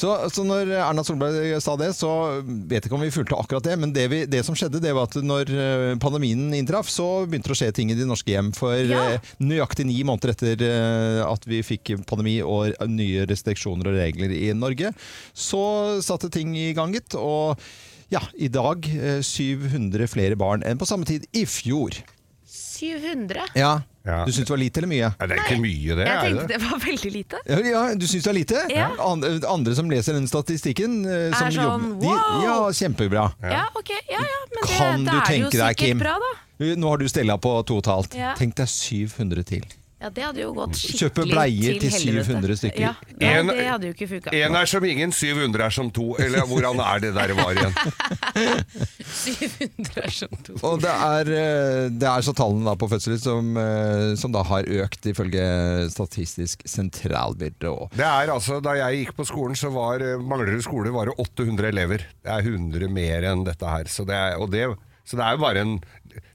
S2: Så, så når Erna Solberg sa det, så vet jeg ikke om vi fulgte akkurat det, men det, vi, det som skjedde, det var at når eh, pandemien inntraff, så begynte det å skje ting i de norske hjem. For
S4: Ja.
S2: eh, nøyaktig ni måneder etter eh, at vi fikk pandemi og nye restriksjoner og regler i Norge, så satte ting i gang, gitt. Og ja, i dag eh, 700 flere barn enn på samme tid i fjor.
S4: 700?
S2: Ja.
S3: Ja.
S2: Du syns det var lite eller mye?
S3: Nei, det er ikke mye, det.
S4: Jeg
S3: er
S4: tenkte det var veldig lite.
S2: Ja, Ja, du syns det er lite?
S4: Ja.
S2: An- Andre som leser den statistikken eh, som
S4: Er sånn,
S2: jobber, de,
S4: wow!
S2: Ja, kjempebra.
S4: Ja, ok. Ja, ja, men det,
S2: Kan du
S4: det er jo
S2: tenke deg,
S4: sikkert
S2: Kim?
S4: bra, da.
S2: Nå har du stella på to og et halvt.
S4: Ja.
S2: Tenk deg 700 til.
S4: Ja, det hadde jo gått skikkelig
S2: Kjøpe bleier til
S4: helvete.
S2: 700 stykker.
S4: Ja, nei,
S3: En-
S4: det hadde jo ikke funka.
S3: En er som ingen, 700 er som to. Eller hvordan er det der var igjen?
S5: 700 er sånn to.
S2: Og det er, eh, det er så tallene da på fødsler som, eh, som da har økt, ifølge Statistisk sentralbyrå.
S3: Det er altså, Da jeg gikk på skolen, så var eh, Manglerud skole var det 800 elever. Det er 100 mer enn dette her. Så det er, og det, så det er jo bare en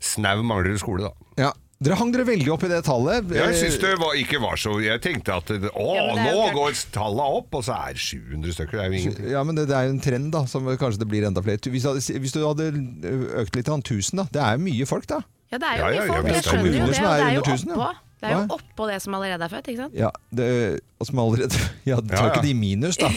S3: snau Manglerud skole, da.
S2: Ja. Dere hang dere veldig opp i det tallet. Eh,
S3: Jeg syns det var, ikke var så Jeg tenkte at det- å,
S4: Eh, Ja, men det er
S3: nå
S4: jo klart.
S3: går tallene opp, og så er det 700 stykker. Det er jo ingenting.
S2: Ja, men det, det er jo en trend, da. Som kanskje det blir enda flere. Hvis, du- hvis du hadde eh, økt litt til 1000, da. Det er jo mye folk, da.
S4: Ja, det er
S3: Ja,
S4: jo
S3: ja,
S4: mye
S3: ja,
S4: folk.
S3: men
S4: Jeg
S3: det er
S4: skjønner jo
S2: kommuner
S4: det.
S2: som
S4: og
S2: er
S4: Det er jo
S2: under 1000, ja.
S4: oppå, det er jo
S2: Hva?
S4: oppå det som allerede er født, ikke sant?
S2: Ja, det, eh, og som allerede Ja, du tar
S3: Ja, ja.
S2: ikke de i minus, da.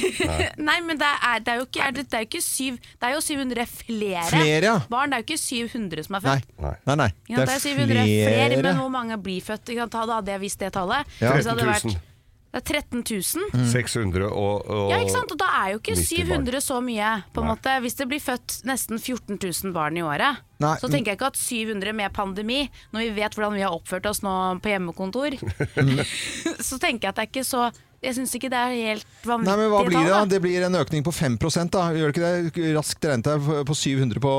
S4: Nei, men det er, det er jo ikke, er det, det er jo ikke syv, det er jo 700 flere,
S2: Flere, ja.
S4: barn. Det er jo ikke 700 som er
S2: Nei.
S4: født.
S3: Nei.
S2: Nei, nei.
S4: Ikke sant? Det er 700 flere. men hvor mange blir født? Ikke sant? Da hadde jeg visst det tallet.
S2: Ja.
S4: Så hadde det vært-
S3: 13 000.
S4: Det er 13 000.
S3: 600 og, og
S4: Ja, ikke sant? Og da er jo ikke
S3: 90 barn.
S4: 700 så mye, på en
S3: Nei.
S4: måte. Hvis det blir født nesten 14 000 barn i året,
S2: Nei,
S4: så
S2: men-
S4: tenker jeg ikke at 700 med pandemi, når vi vet hvordan vi har oppført oss nå på hjemmekontor, så tenker jeg at det er ikke så Jeg syns ikke det er helt
S2: Nei, men Hva
S4: vanvittige
S2: blir det? da?
S4: tall. da.
S2: Det blir en økning på 5 da. Gjør det ikke det? Raskt regnet jeg på 700 på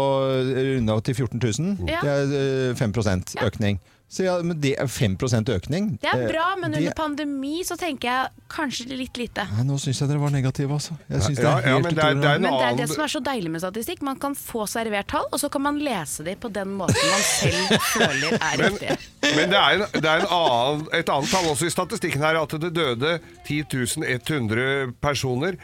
S2: runda til 14 000.
S4: Mm. Ja.
S2: Det er eh, 5 økning. Så ja, men det er 5 økning. Eh,
S4: Det er bra, men
S2: det-
S4: under pandemi så tenker jeg kanskje litt lite.
S2: Nei, Nå syns jeg dere var negative, altså. Jeg synes
S3: Ja,
S2: det er
S3: ja,
S2: helt
S3: men det er,
S2: utrolig.
S3: det er en
S4: Men det er
S3: annen
S4: det som er så deilig med statistikk. Man kan få servert tall, og så kan man lese de på den måten man selv føler er
S3: Men,
S4: riktig.
S3: men det er, en, det er en annen, et annet tall også i statistikken her, at det døde 10.100 personer.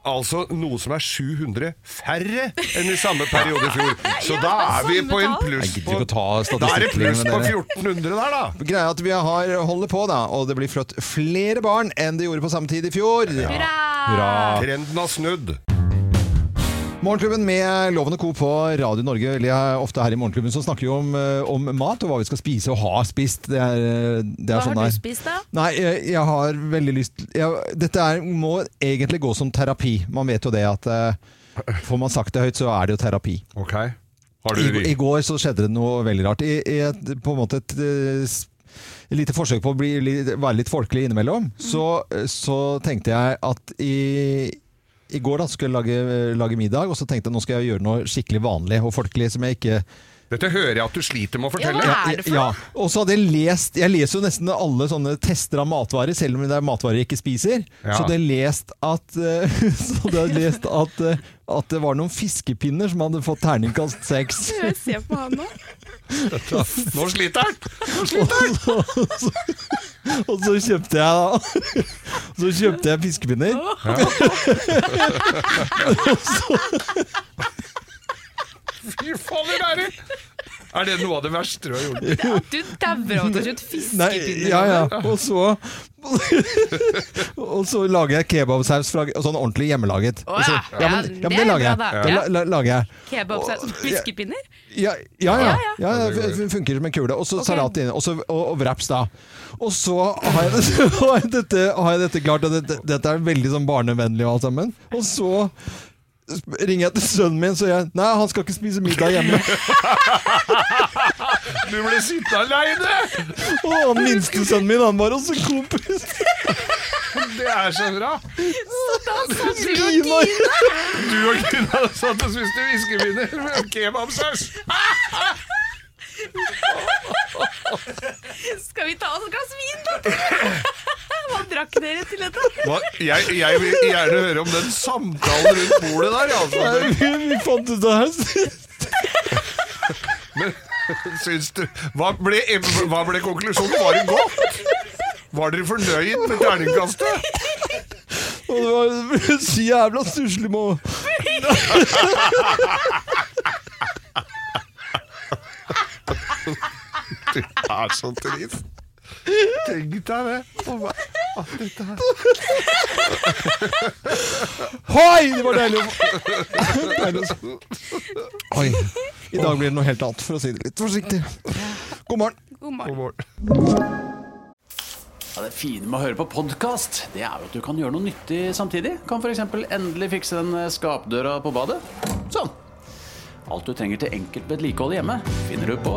S3: Altså noe som er 700 færre enn i samme periode i fjor. Så
S4: Ja,
S3: da er vi
S4: samme
S3: på en
S2: Jeg
S4: tall.
S3: pluss
S2: gidder
S3: på
S2: ikke å ta
S3: Da er det pluss
S2: statistikken
S3: på
S2: med dere.
S3: 1400 der, da!
S2: Greia er at vi har, holder på, da, og det blir født flere barn enn det gjorde på samme tid i fjor.
S4: Hurra!
S3: Trenden har snudd.
S2: Morgenklubben med Loven og Co. på Radio Norge. Eller jeg er ofte her i Morgenklubben så snakker vi om, eh, om mat og hva vi skal spise og har spist. Det er, eh, det er
S4: Hva
S2: sånn
S4: har
S2: det
S4: du
S2: er.
S4: spist, da?
S2: Nei, jeg, jeg har veldig lyst jeg, Dette er, må egentlig gå som terapi. Man vet jo det at eh, Får man sagt det høyt, så er det jo terapi.
S3: Ok. Har
S2: I,
S3: du
S2: I går så skjedde det noe veldig rart. I, i et, på en måte et eh, s- lite forsøk på å bli, li- være litt folkelig innimellom,
S3: Mm.
S2: så, eh, så tenkte jeg at i, i går da skulle jeg lage, lage middag, og så tenkte jeg nå skal jeg gjøre noe skikkelig vanlig og folkelig som jeg ikke
S3: Dette hører jeg at du sliter med å
S4: Ja,
S3: fortelle.
S4: hva er det for
S2: ja.
S4: noe?
S2: Og så hadde jeg lest Jeg leser jo nesten alle sånne tester av matvarer, selv om det er matvarer jeg ikke spiser.
S3: Ja.
S2: Så hadde jeg lest at eh, Så hadde jeg lest at, eh, at det var noen fiskepinner som hadde fått terningkast seks.
S4: Jeg ser på han nå.
S3: Nå sliter han!
S2: Og så kjøpte jeg da Så kjøpte jeg fiskepinner
S3: Fy fader, er det Er det noe av det verste du har gjort?
S5: Du dauer av at du har kjøpt
S2: Nei,
S5: fiskepinner.
S2: ja, ja. Og så Og så lager jeg kebabsaus fra, Sånn ordentlig hjemmelaget Og så,
S5: Å ja.
S2: ja, men,
S5: Ja,
S2: ja,
S5: det
S2: men
S5: er
S2: det lager jeg
S5: bra da.
S2: Det la, la, lager jeg
S5: Kebabsaus og fiskepinner?
S2: Ja, ja, ja. ja,
S3: Ja,
S2: ja
S3: det går
S2: fun- fun- funker som en kule. Og så salat inni, og, så- og, og wraps, da. Og så har jeg, har jeg, dette, har jeg dette klart, og dette, dette er veldig sånn barnevennlig og alt sammen. Og så ringer jeg til sønnen min, så jeg Nei, han skal ikke spise middag hjemme.
S3: Du ble sittende aleine!
S2: Og han minste sønnen min, han var også kompis.
S3: Det er så bra!
S2: Grinar.
S3: Du og Gunnar satt og spiste whiskybinner med kebabsaus.
S5: Skal vi ta oss et glass vin, da? Hva drakk dere til dette?
S3: Hva- Jeg, jeg vil gjerne høre om den samtalen rundt bordet der. ja, Altså.
S2: Vi fant ut det her.
S3: Men Syns du Hva ble, hva ble konklusjonen? Var det godt? Var dere fornøyd med terningkastet?
S2: Og det var så jævla stusslig med å-
S3: Du er så trist. Tenk deg det. Og hva- at dette her-
S2: Hoi! Det var deilig å Deilig å Oi. I dag blir det noe helt annet, for å si det litt forsiktig. God morgen.
S3: God morgen.
S10: Ja, det fine med å høre på podkast, det er jo at du kan gjøre noe nyttig samtidig. Kan f.eks. endelig fikse den eh, skapdøra på badet. Sånn. Alt du trenger til enkelt vedlikehold hjemme, finner du på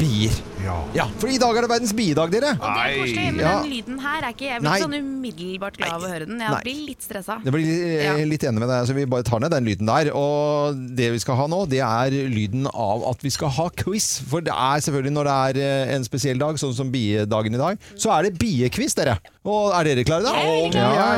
S2: bier.
S6: Ja.
S2: Ja, for i dag er det verdens biedag, dere.
S4: Og det er koselig, men
S2: ja.
S4: den lyden her er ikke Jeg blir
S2: Nei.
S4: ikke sånn umiddelbart glad av å høre den.
S2: Nei.
S4: Jeg blir litt stressa.
S2: Jeg blir eh,
S4: Ja.
S2: litt enig med deg, så vi bare tar ned den lyden der. Og det vi skal ha nå, det er lyden av at vi skal ha quiz. For det er selvfølgelig når det er eh, en spesiell dag, sånn som biedagen i dag, så er det biequiz, dere. Og er dere klare, da? Ja.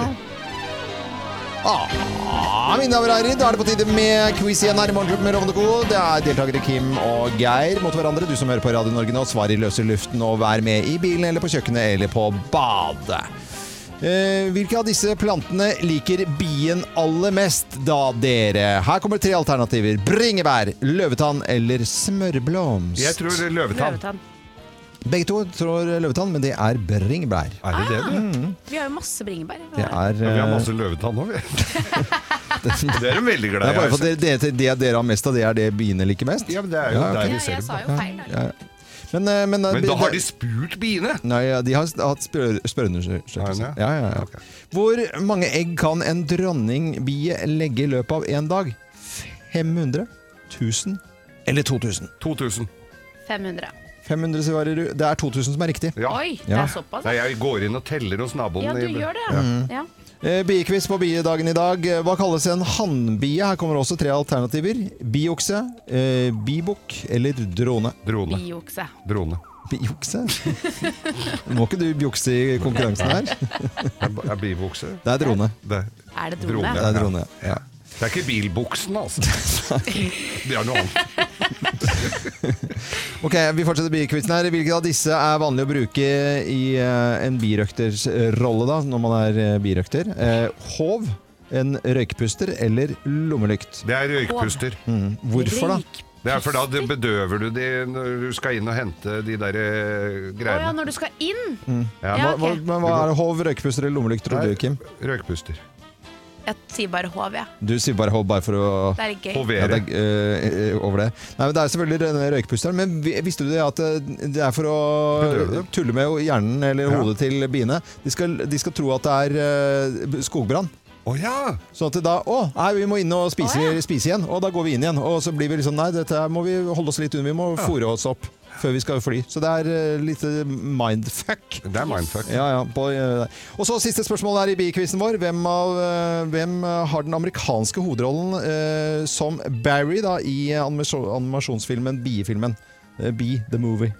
S2: Ah, mine damer og herrer, da er det på tide med quiz igjen her i Morgenklubben med Rovende Co. Det er deltakere Kim og Geir mot hverandre. Du som hører på Radio Norge nå, svar i løse luften og vær med i bilen eller på kjøkkenet eller på badet. Eh, hvilke av disse plantene liker bien aller mest, da dere? Her kommer tre alternativer. Bringebær, løvetann eller smørblomst.
S3: Jeg tror løvetann.
S4: Løvetann.
S2: Begge to tror løvetann, men det er bringebær.
S3: Er det det, du?
S4: Vi har jo masse bringebær.
S2: Det er,
S3: Ja, vi har
S2: eh,
S3: masse løvetann nå, vi. Det er de veldig
S2: det
S3: glad
S2: er bare for
S3: i. altså.
S2: at det, det, det dere har mest av, det er det biene liker mest.
S3: Ja, men det er jo
S2: Ja,
S3: der
S4: Ja,
S3: vi ser
S4: jeg
S3: det.
S4: sa jo feil. da.
S2: Men, eh, men, eh,
S3: Men da har de
S2: det-
S3: spurt biene!
S2: Nei, ja, de har hatt spør
S3: Har de
S2: spørreundersøkelse.
S3: det?
S2: Ja, ja, ja.
S3: Ok.
S2: Hvor mange egg kan en dronningbie legge i løpet av én dag? 500? 1000? Eller 2000?
S3: 2000.
S4: 500.
S2: 500 svarer du. Det er 2000 som er riktig.
S3: Ja.
S4: Oi, det
S2: Ja.
S4: er såpass.
S3: Nei, jeg går inn og teller hos naboen.
S4: Ja, du
S3: i-
S4: gjør det, ja. ja.
S2: Eh, Biekviss på biedagen i dag. Eh, Hva kalles en hannbie? Her kommer også tre alternativer. Biokse, eh, bibukk eller drone.
S3: Drone.
S4: Biokse.
S3: Drone.
S2: Biokse? Må ikke du bjukse i konkurransen her?
S3: Jeg b- jeg blir bukse.
S2: Det er drone.
S3: Det.
S4: Er det drone?
S2: Det er drone, ja.
S3: Det er ikke bilbuksen, altså. Det er noe annet.
S2: Ok, Vi fortsetter biekvissen her. Hvilke av disse er vanlig å bruke i eh, en birøkters eh, rolle da, når man er eh, birøkter? Eh, Håv, en røykpuster eller lommelykt? Mm,
S3: Det er røykpuster.
S2: Hvorfor da?
S3: Det er for da det bedøver du de når du skal inn og hente de der eh,
S4: Å ja,
S3: greiene.
S4: når du skal inn?
S3: Ja,
S4: Ja,
S2: Hva, hva,
S4: ok.
S2: men hva er det? håv, røykpuster eller lommelykt, tror du, Kim?
S3: Røykpuster.
S4: Jeg sier bare HV. ja.
S2: Du sier bare håv bare for å
S4: Det er litt gøy.
S2: ja, det
S3: Hovere.
S2: er, eh, eh, over det. Nei, men det er selvfølgelig denne røykpusteren, men vi- visste du det at eh, det er for å
S3: Bedøve.
S2: tulle med hjernen eller
S3: Ja.
S2: hodet til biene? De skal, de skal tro at det er eh, skogbrann.
S3: Å ja!
S2: Sånn at det da Å, nei, vi må inn og spise, spise igjen. Og da går vi inn igjen. Og så blir vi liksom Nei, dette her må vi holde oss litt unna. Vi må fôre oss opp før vi skal fly. Så det er uh, litt mindfuck.
S3: Det er mindfuck.
S2: Ja, ja. På, eh, og så siste spørsmål her i bikvisten vår. Hvem, av, eh, hvem eh, har den amerikanske hovedrollen eh, som Barry da, i animasjon, animasjonsfilmen Biefilmen? Eh, Bee, the movie.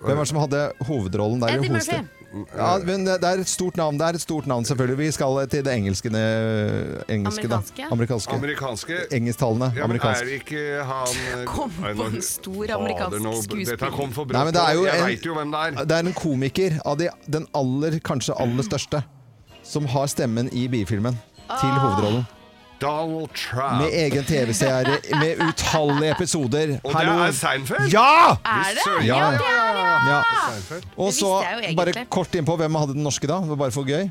S2: Hvem er det som hadde hovedrollen der? i
S4: Eddie Murphy.
S2: hovedstaden? Ja, men det det er et stort navn. Det er et stort navn, selvfølgelig. Vi skal til det engelske, engelske
S4: Amerikanske?
S2: Da. Amerikanske.
S3: Amerikanske
S2: Engelsktalende.
S3: ja, men
S2: amerikansk.
S3: er ikke han eh,
S5: Kom på
S3: nei, nå-
S5: en stor
S3: Fader,
S5: amerikansk
S3: nå- Dette
S5: skuespiller.
S3: kom for
S2: Nei,
S3: brått
S2: men det er
S3: på.
S2: jo
S3: Jeg
S2: en-
S3: veit jo hvem det er.
S2: Det er en komiker av de, den aller, kanskje aller største, som har stemmen i biefilmen
S4: Ah.
S2: til hovedrollen.
S3: Donald Trump.
S2: Med egen TV-serie, med utallige episoder.
S3: Og
S2: Hallo.
S3: det er Seinfeld?
S2: Ja!
S4: Er det?
S3: Søren,
S2: Ja,
S3: ja,
S2: det
S3: ja, ja, ja.
S2: ja! Og
S3: Seinfeld.
S4: Ah, Det visste
S2: så
S4: jeg jo egentlig.
S2: bare kort innpå hvem hadde den norske da? Det var Bare for gøy.
S3: Det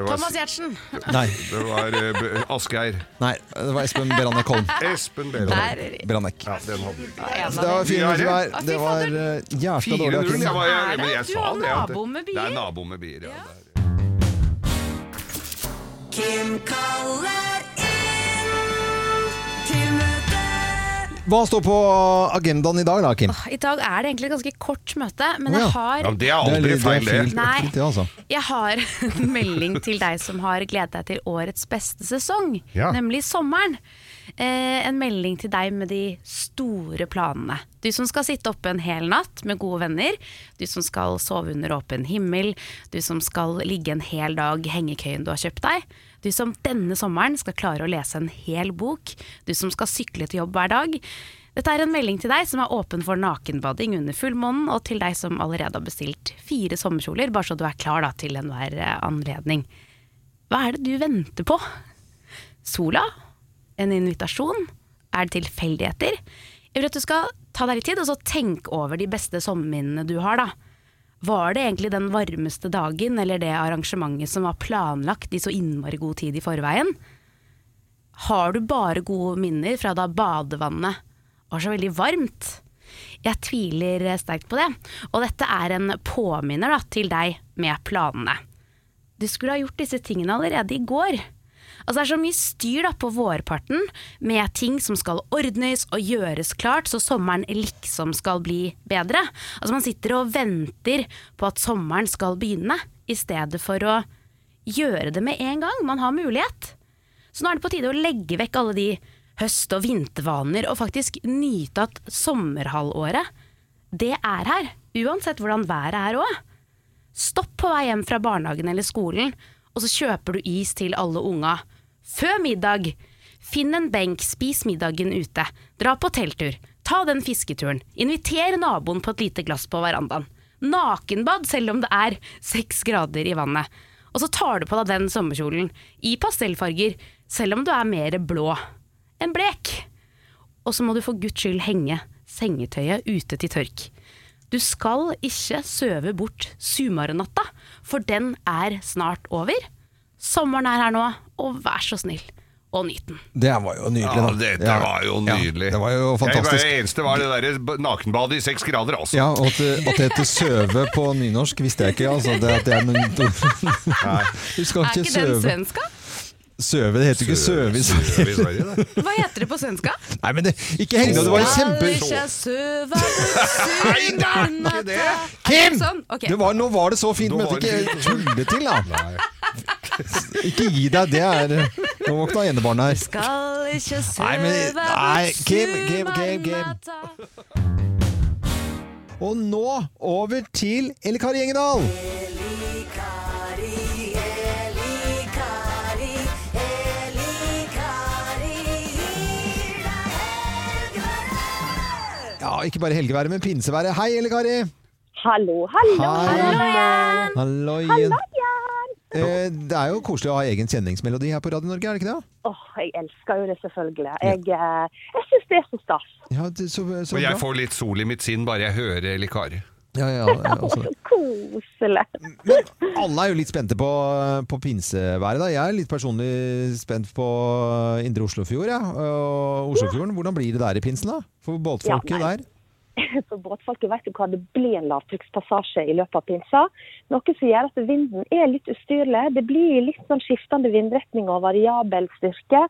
S3: var,
S4: Thomas Giertsen.
S2: Nei,
S3: det var eh, B- Asgeir.
S2: nei det var Espen Beranek Holm.
S3: Espen
S4: Der
S3: Behrenholm.
S2: Beranek.
S3: Ja, den hadde vi.
S2: Det var fire minutter hver. Det var eh, jævla dårlig.
S3: 4-0.
S2: Akim.
S3: Jeg var, jeg, men jeg
S4: Du
S3: sa
S4: har
S3: det. at-
S4: nabo med bier.
S3: Det er nabo med bier, ja. det er-
S8: Kim kaller inn til møte.
S2: Hva står på agendaen i dag da, Kim?
S4: I dag er det egentlig et ganske kort møte, men
S2: Å, ja.
S4: jeg har
S3: Ja, men det er aldri
S2: litt-
S3: feil,
S2: det. er
S3: det.
S2: fint-
S4: Nei.
S2: fint, det, altså.
S4: Jeg har en melding til deg som har gledet deg til årets beste sesong,
S3: Ja.
S4: nemlig sommeren. Eh, en melding til deg med de store planene. Du som skal sitte oppe en hel natt med gode venner. Du som skal sove under åpen himmel. Du som skal ligge en hel dag i hengekøyen du har kjøpt deg. Du som denne sommeren skal klare å lese en hel bok. Du som skal sykle til jobb hver dag. Dette er en melding til deg som er åpen for nakenbading under fullmånen, og til deg som allerede har bestilt fire sommerkjoler, bare så du er klar da, til enhver eh, anledning. Hva er det du venter på? Sola? En invitasjon? Er det tilfeldigheter? Jeg vil at du skal ta deg litt tid og så tenk over de beste sommerminnene du har. da. Var det egentlig den varmeste dagen eller det arrangementet som var planlagt i så innmari god tid i forveien? Har du bare gode minner fra da badevannet var så veldig varmt? Jeg tviler sterkt på det. Og dette er en påminner da, til deg med planene. Du skulle ha gjort disse tingene allerede i går. Altså Det er så mye styr da på vårparten med ting som skal ordnes og gjøres klart, så sommeren liksom skal bli bedre. Altså Man sitter og venter på at sommeren skal begynne, i stedet for å gjøre det med en gang. Man har mulighet. Så nå er det på tide å legge vekk alle de høst- og vintervaner og faktisk nyte at sommerhalvåret, det er her. Uansett hvordan været er òg. Stopp på vei hjem fra barnehagen eller skolen, og så kjøper du is til alle unga. Før middag! Finn en benk, spis middagen ute. Dra på telttur. Ta den fisketuren. Inviter naboen på et lite glass på verandaen. Nakenbad selv om det er seks grader i vannet. Og så tar du på deg den sommerkjolen, i pastellfarger, selv om du er mer blå enn blek. Og så må du for guds skyld henge sengetøyet ute til tørk. Du skal ikke søve bort sumarnatta, for den er snart over. Sommeren er her nå, og vær så snill og nyt den.
S2: det var jo nydelig.
S3: Ja,
S2: da.
S3: dette
S2: Ja.
S3: var jo
S2: Ja,
S3: nydelig.
S2: det var jo
S3: Jeg,
S2: fantastisk.
S3: det eneste var det derre nakenbadet i seks grader, altså.
S2: Ja, og at, at det heter søve på nynorsk visste jeg ikke. Altså, det, at det er, men, du skal
S4: Er
S2: ikke
S4: ikke den
S2: søve.
S4: svenska?
S2: Søve, det heter ikke søve. i Sverige.
S3: Søv i Sverige, det.
S4: Hva heter det på svenska?
S2: Nei, men det, ikke heng deg, det var jo kjempe...
S4: søva
S3: Nei, det er ikke det!
S2: Kim!
S4: Sånn? ok.
S2: Det var, nå var det så fint,
S3: Nå
S2: men
S3: var
S2: ikke
S3: det
S2: tulle til, da. Ikke gi deg, det er Nå våkna enebarn her.
S4: Skal ikke
S2: Nei, men- søve bort nei, Kim, Kim, Kim, Kim. Og nå over til Elle Kari Engedal. Ja, ikke bare helgeværet, men pinseværet. Hei, Elle Kari.
S11: Hallo, hallo.
S2: Hei.
S4: igjen!
S2: Hallo igjen. Eh, Det er jo koselig å ha egen kjenningsmelodi her på Radio Norge, er det ikke det?
S11: Åh, jeg elsker jo det selvfølgelig. Jeg, eh, jeg syns det er så stas.
S2: Ja, det- så, så
S3: Og jeg
S2: bra.
S3: får litt sol i mitt sinn bare jeg hører Eli Kari.
S2: Ja, ja, ja,
S11: Åh,
S2: altså.
S11: så koselig.
S2: Men alle er jo litt spente på, på pinseværet. da. Jeg er litt personlig spent på Indre Oslofjord. Ja. Og Oslofjorden, Hvordan blir det der i pinsen, da? For båtfolket
S11: Ja, nei.
S2: der?
S11: For båtfolket vet jo hva det blir en lavtrykkspassasje i løpet av pinsa. Noe som gjør at vinden er litt ustyrlig. Det blir litt sånn skiftende vindretning og variabel styrke.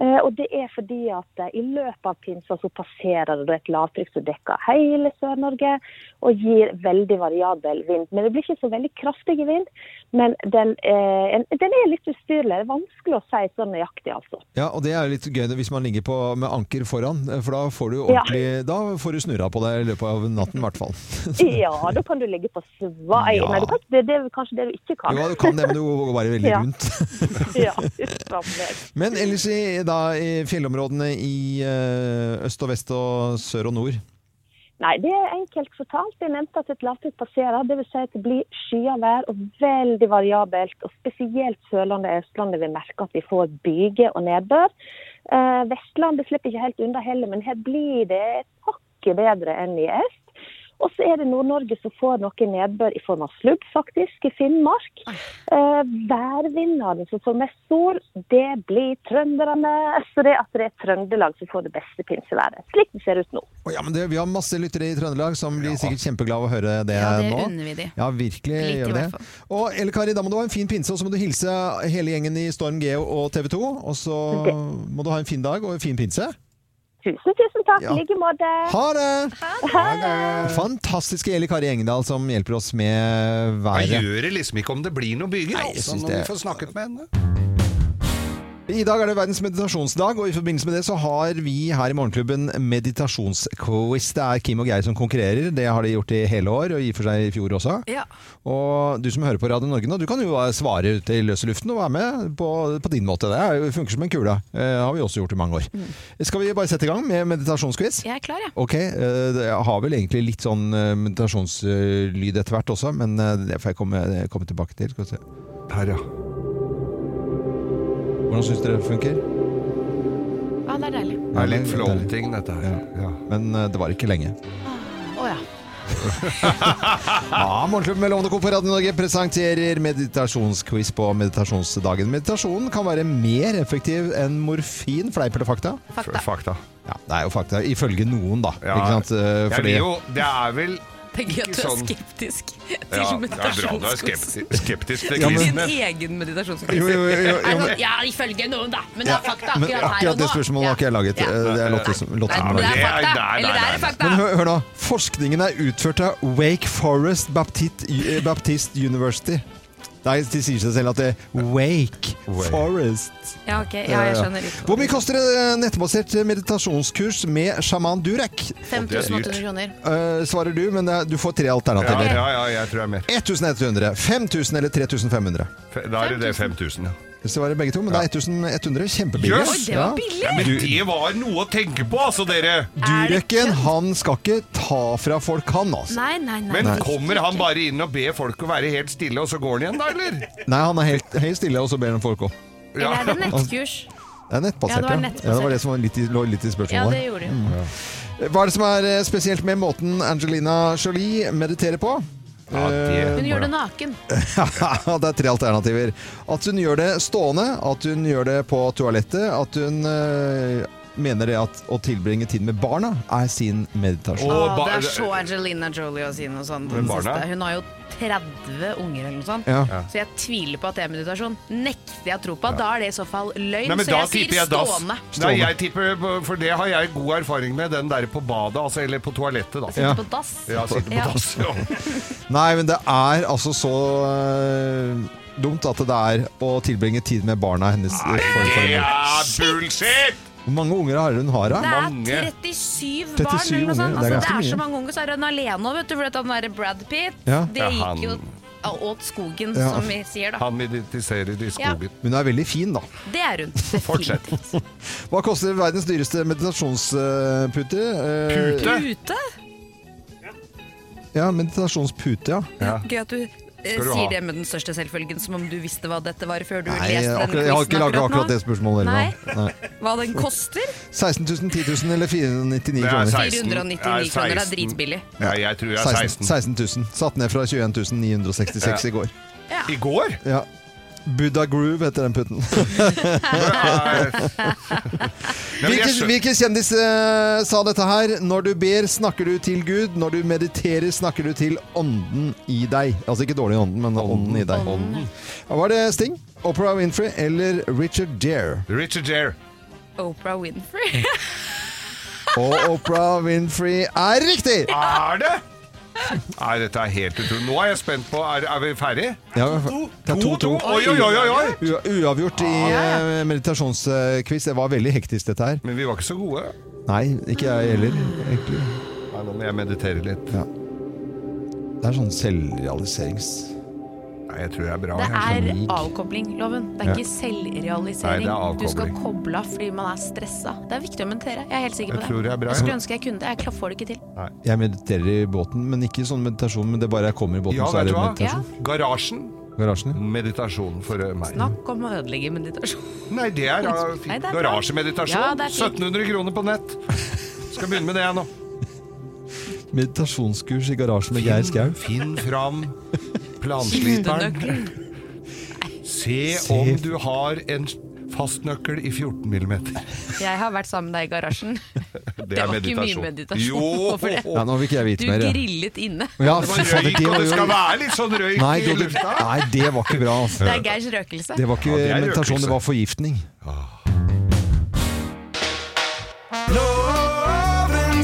S11: Eh, Og det er fordi at eh, i løpet av pinsa så passerer det et lavtrykk som dekker hele Sør-Norge og gir veldig variabel vind. Men det blir ikke så veldig kraftig vind, men den, eh, en- den er litt ustyrlig. Det er vanskelig å si sånn nøyaktig, altså.
S2: Ja, og det er jo litt gøy det, hvis man ligger på, med anker foran, for da får du ordentlig Da får du snurra på deg i løpet av natten, i hvert fall.
S11: Ja, da kan du ligge på svai.
S2: Ja.
S11: Nei, du kan, ikke- det, det er kanskje det du ikke kan.
S2: Jo, du kan det, men du går bare veldig
S11: Ja.
S2: rundt.
S11: Ja, uff a meg.
S2: Men ellers i, da, i fjellområdene i eh, øst og vest og sør og nord
S11: Nei, det er enkelt fortalt. Jeg nevnte at et lavtrykk passerer. Det vil si at det blir skyet vær og veldig variabelt. Og spesielt Sørlandet og Østlandet vil merke at vi får byger og nedbør. Eh, Vestlandet slipper ikke helt unna heller, men her blir det et hakket bedre enn i øst. Og så er det Nord-Norge som får noe nedbør i form av slugg, faktisk, i Finnmark. Eh, værvinnerne som får mest sol, det blir trønderne. Så det at det er Trøndelag som får det beste pinseværet. Slik det ser ut nå.
S2: Å, ja, men det, Vi har masse lyttere i Trøndelag som blir sikkert kjempeglade av å høre det,
S4: Ja, det
S2: nå.
S4: unner vi de.
S2: Ja, virkelig
S4: Litt i
S2: gjør vi
S4: hvert
S2: det. Og Elle Kari, da må du ha en fin pinse, og så må du hilse hele gjengen i Storm Geo og TV 2. Og så må du ha en fin dag og en fin pinse.
S11: Tusen, tusen takk.
S2: Ja.
S11: I like måte.
S2: Ha det! Fantastiske Eli Kari Engedal som hjelper oss med været.
S3: Jeg gjør det liksom ikke om det blir noen byger,
S2: Nei, jeg
S3: altså,
S2: synes
S3: når
S2: det-
S3: vi får snakket med henne.
S2: I dag er det verdens meditasjonsdag, og i forbindelse med det så har vi her i Morgenklubben meditasjonsquiz. Det er Kim og Geir som konkurrerer. Det har de gjort i hele år, og i og for seg i fjor også.
S5: Ja.
S2: Og du som hører på Radio Norge nå, du kan jo svare ute i løse luften og være med på, på din måte. Det er jo- funker som en kule. Eh, har vi også gjort i mange år. Skal vi bare sette i gang med meditasjonsquiz?
S4: Jeg er klar, jeg.
S2: Ok, eh, det- jeg har vel egentlig litt sånn eh, meditasjonslyd etter hvert også, men eh, det får jeg komme, det kommer tilbake til. Skal vi se.
S3: Her, ja.
S2: Hvordan syns dere det funker?
S4: Ja, det er deilig.
S3: Det er litt floating, dette her. Ja.
S2: Men eh, det var ikke lenge.
S4: Å ja.
S2: Ja, Morgenklubben med Lovende Co på Radio Norge presenterer meditasjonsquiz på meditasjonsdagen. Meditasjonen kan være mer effektiv enn morfin. Fleip eller fakta?
S3: Fakta. fakta.
S2: Ja, det er jo fakta, ifølge noen, da.
S3: Ja,
S2: Ikke sant? Eh,
S3: jeg
S2: fordi-
S3: vil jo, det er vel
S5: Det er gøy at du er
S3: Sånn.
S5: skeptisk til
S3: ja, det er bra du er
S5: meditasjonskurs.
S3: skeptisk, skeptisk til
S2: Ja, men-
S5: Din
S3: kristne.
S5: egen meditasjonskurs.
S2: Jo, jo, jo, jo, jo, men-
S5: Ja, ifølge noen, da. Men det er fakta
S2: Men
S5: akkurat her
S2: akkurat
S5: og
S2: det
S5: nå.
S2: spørsmålet har ikke jeg laget. Eh, Det er Lotte som Lotte som
S5: Nei, det
S2: har
S5: er
S2: laget.
S5: fakta.
S3: nei, nei,
S5: Eller det
S3: nei,
S5: er
S3: nei.
S5: fakta.
S2: Men hør, hør nå. Forskningen er utført av Wake Forest Baptist, eh, Baptist University. Nei, de sier seg selv at det er Wake Forest.
S4: ja, ok. Ja, jeg skjønner.
S2: Hvor mye koster et nettbasert eh, meditasjonskurs med sjaman Durek?
S4: 5800 kroner.
S2: Eh, svarer du, men det er, du får tre
S3: Ja,
S2: alternativer.
S3: ja, ja, jeg tror det er mer.
S2: 1100, 5000 eller 3500.
S3: Fe- Da er det det 5000, ja.
S2: Hvis det var begge to, men det er 1100. Kjempebillig.
S3: Jøss! Oi, det
S2: Ja.
S3: ja. Men det var noe å tenke på, altså, dere!
S2: Dureken, han skal ikke ta fra folk, han, altså.
S4: Nei, nei, nei.
S3: Men kommer han bare inn og ber folk å være helt stille, og så går han igjen, da, eller?
S2: Nei, han er helt, helt stille, og så ber han folk òg.
S4: Eller er det nettkurs?
S2: Det er nettbasert,
S4: Ja, det var
S2: ja.
S4: nettbasert.
S2: ja. Det var det som var litt i, lå litt i
S4: Ja,
S2: spørsmålet.
S4: det gjorde de. jo.
S2: Hva er det som er eh, spesielt med måten Angelina Jolie mediterer på?
S3: Ja,
S4: Hun
S3: det
S4: gjør det naken.
S2: det er tre alternativer. At hun gjør det stående, at hun gjør det på toalettet, at hun eh, mener det at å tilbringe tid med barna er sin meditasjon.
S3: Og
S4: Å,
S3: ba-
S4: det er så Angelina Jolie å si noe sånt.
S3: Men barna?
S4: Siste. Hun har jo 30 unger eller noe sånt.
S2: Ja.
S4: Så jeg tviler på at det er meditasjon. Nekter jeg å tro på. Da er det i så fall
S3: Nei,
S4: løgn.
S3: men
S4: så
S3: da
S4: jeg sier
S3: tipper jeg dass.
S4: stående.
S3: Nei, jeg tipper, For det har jeg god erfaring med, den der på badet, altså, eller på toalettet, da.
S4: Sitte på dass.
S3: Ja, sitte på
S4: Ja.
S3: dass. Ja.
S2: Nei, men det er altså så eh, dumt at det er å tilbringe tid med barna hennes. eh, for- for-
S3: Det er bullshit!
S2: Hvor mange unger har hun har,
S4: Det
S2: da?
S4: er
S3: Mange.
S4: 37 barn
S2: 37
S4: eller noe sånt.
S2: unger, det
S4: Altså,
S2: er
S4: det,
S2: ganske
S4: er
S2: mye.
S4: så mange unger, så er hun alene òg, vet du. For at han derre Brad Pitt,
S2: Ja.
S4: det
S3: Ja, han-
S4: gikk jo åt skogen,
S2: Ja.
S4: som vi sier da.
S3: Han meditiserer i skogen.
S2: Hun er veldig fin, da.
S4: Det er hun.
S3: Fortsett.
S2: Hva koster verdens dyreste meditasjonspute? Eh,
S3: Pute?
S5: Ute?
S2: Ja, meditasjonspute, ja.
S3: Ja.
S4: Gøy at du eh,
S3: Skal du ha.
S4: sier det med den største selvfølgen, som om du visste hva dette var før du
S2: Nei,
S4: leste den
S2: akkurat, jeg har ikke
S4: quizen
S2: laget akkurat
S4: nå.
S2: det spørsmålet.
S4: Nei.
S2: heller, da. Nei.
S5: Hva den koster?
S2: 16 000, 10 000 eller 499
S3: Det er
S2: kroner?
S3: 16.
S4: 499
S3: Det er
S4: kroner er
S3: 16.
S4: dritbillig.
S3: Ja, jeg tror jeg er
S2: 16,
S3: 16.
S2: 16 000. Satt ned fra 21 966
S3: Ja.
S2: i går.
S3: I går?
S2: Ja. Buddha Groove heter den putten.
S3: Nei, men jeg
S2: Hvilken,
S3: skjø-
S2: hvilken kjendis eh, sa dette her? Når du ber, snakker du til Gud. Når du mediterer, snakker du til ånden i deg. Altså ikke dårlig ånden, men ånden i deg. Ja, Var det Sting, Opera Winfrey eller Richard Dere?
S3: Richard Jere.
S4: Oprah Winfrey.
S2: Og Opera Winfrey er riktig!
S3: Er det? Nei, dette er helt utrolig. Nå er jeg spent på Er, er vi ferdig?
S2: Ja, det er 2-2.
S3: Oi, oi, oi, oi, oi!
S2: Ua- Uavgjort i eh, meditasjonsquiz. Det var veldig hektisk, dette her.
S3: Men vi var ikke så gode.
S2: Nei, ikke jeg heller. egentlig.
S3: Nei, nå må jeg meditere litt.
S2: Det er sånn selvrealiserings...
S3: Nei, jeg tror jeg er bra.
S4: Det
S3: jeg.
S4: er avkobling, loven. Det er ikke selvrealisering.
S3: Nei, det er
S4: Du skal
S3: avkobling.
S4: koble av fordi man er stressa. Det er viktig å meditere. Jeg er helt
S3: Jeg
S4: sikker på det.
S3: tror jeg er bra, ja.
S4: skulle ønske jeg kunne det. Jeg kla- får det ikke til.
S2: Jeg mediterer i båten, men ikke sånn meditasjon. Men det er bare jeg kommer i båten,
S3: Ja,
S2: så er
S3: vet
S2: det
S3: du hva?
S2: meditasjon.
S3: Garasjen.
S2: Garasjen, ja.
S3: Meditasjon for eh, meg.
S4: Snakk om å ødelegge meditasjon.
S3: Nei, det er da
S4: Nei,
S3: fint.
S4: det er bra.
S3: Garasjemeditasjon.
S4: Ja, det er fint.
S3: 1700 kroner på nett. Skal begynne med det, jeg nå.
S2: Meditasjonskurs i garasjen med Geir Skau.
S3: Finn fram plansliperen. Se
S2: Se.
S3: om du har en fastnøkkel i 14 millimeter.
S4: Jeg har vært sammen med deg i garasjen.
S3: Det
S4: var ikke mye meditasjon for det.
S2: Ja, nå vil ikke jeg
S4: Du
S2: vite mer. jeg.
S4: grillet inne.
S2: Ja,
S3: Det
S2: fy
S3: var
S2: fader,
S3: røyk,
S2: det
S3: og
S2: var
S3: det
S2: jo
S3: skal være litt sånn røyk
S2: Nei,
S3: i
S2: det,
S3: lufta.
S2: nei, det var ikke bra. altså.
S4: Det er Geirs røkelse.
S2: Det var ikke
S3: Ja, det er
S2: meditasjon,
S3: røkelse.
S2: det var forgiftning.
S3: Loven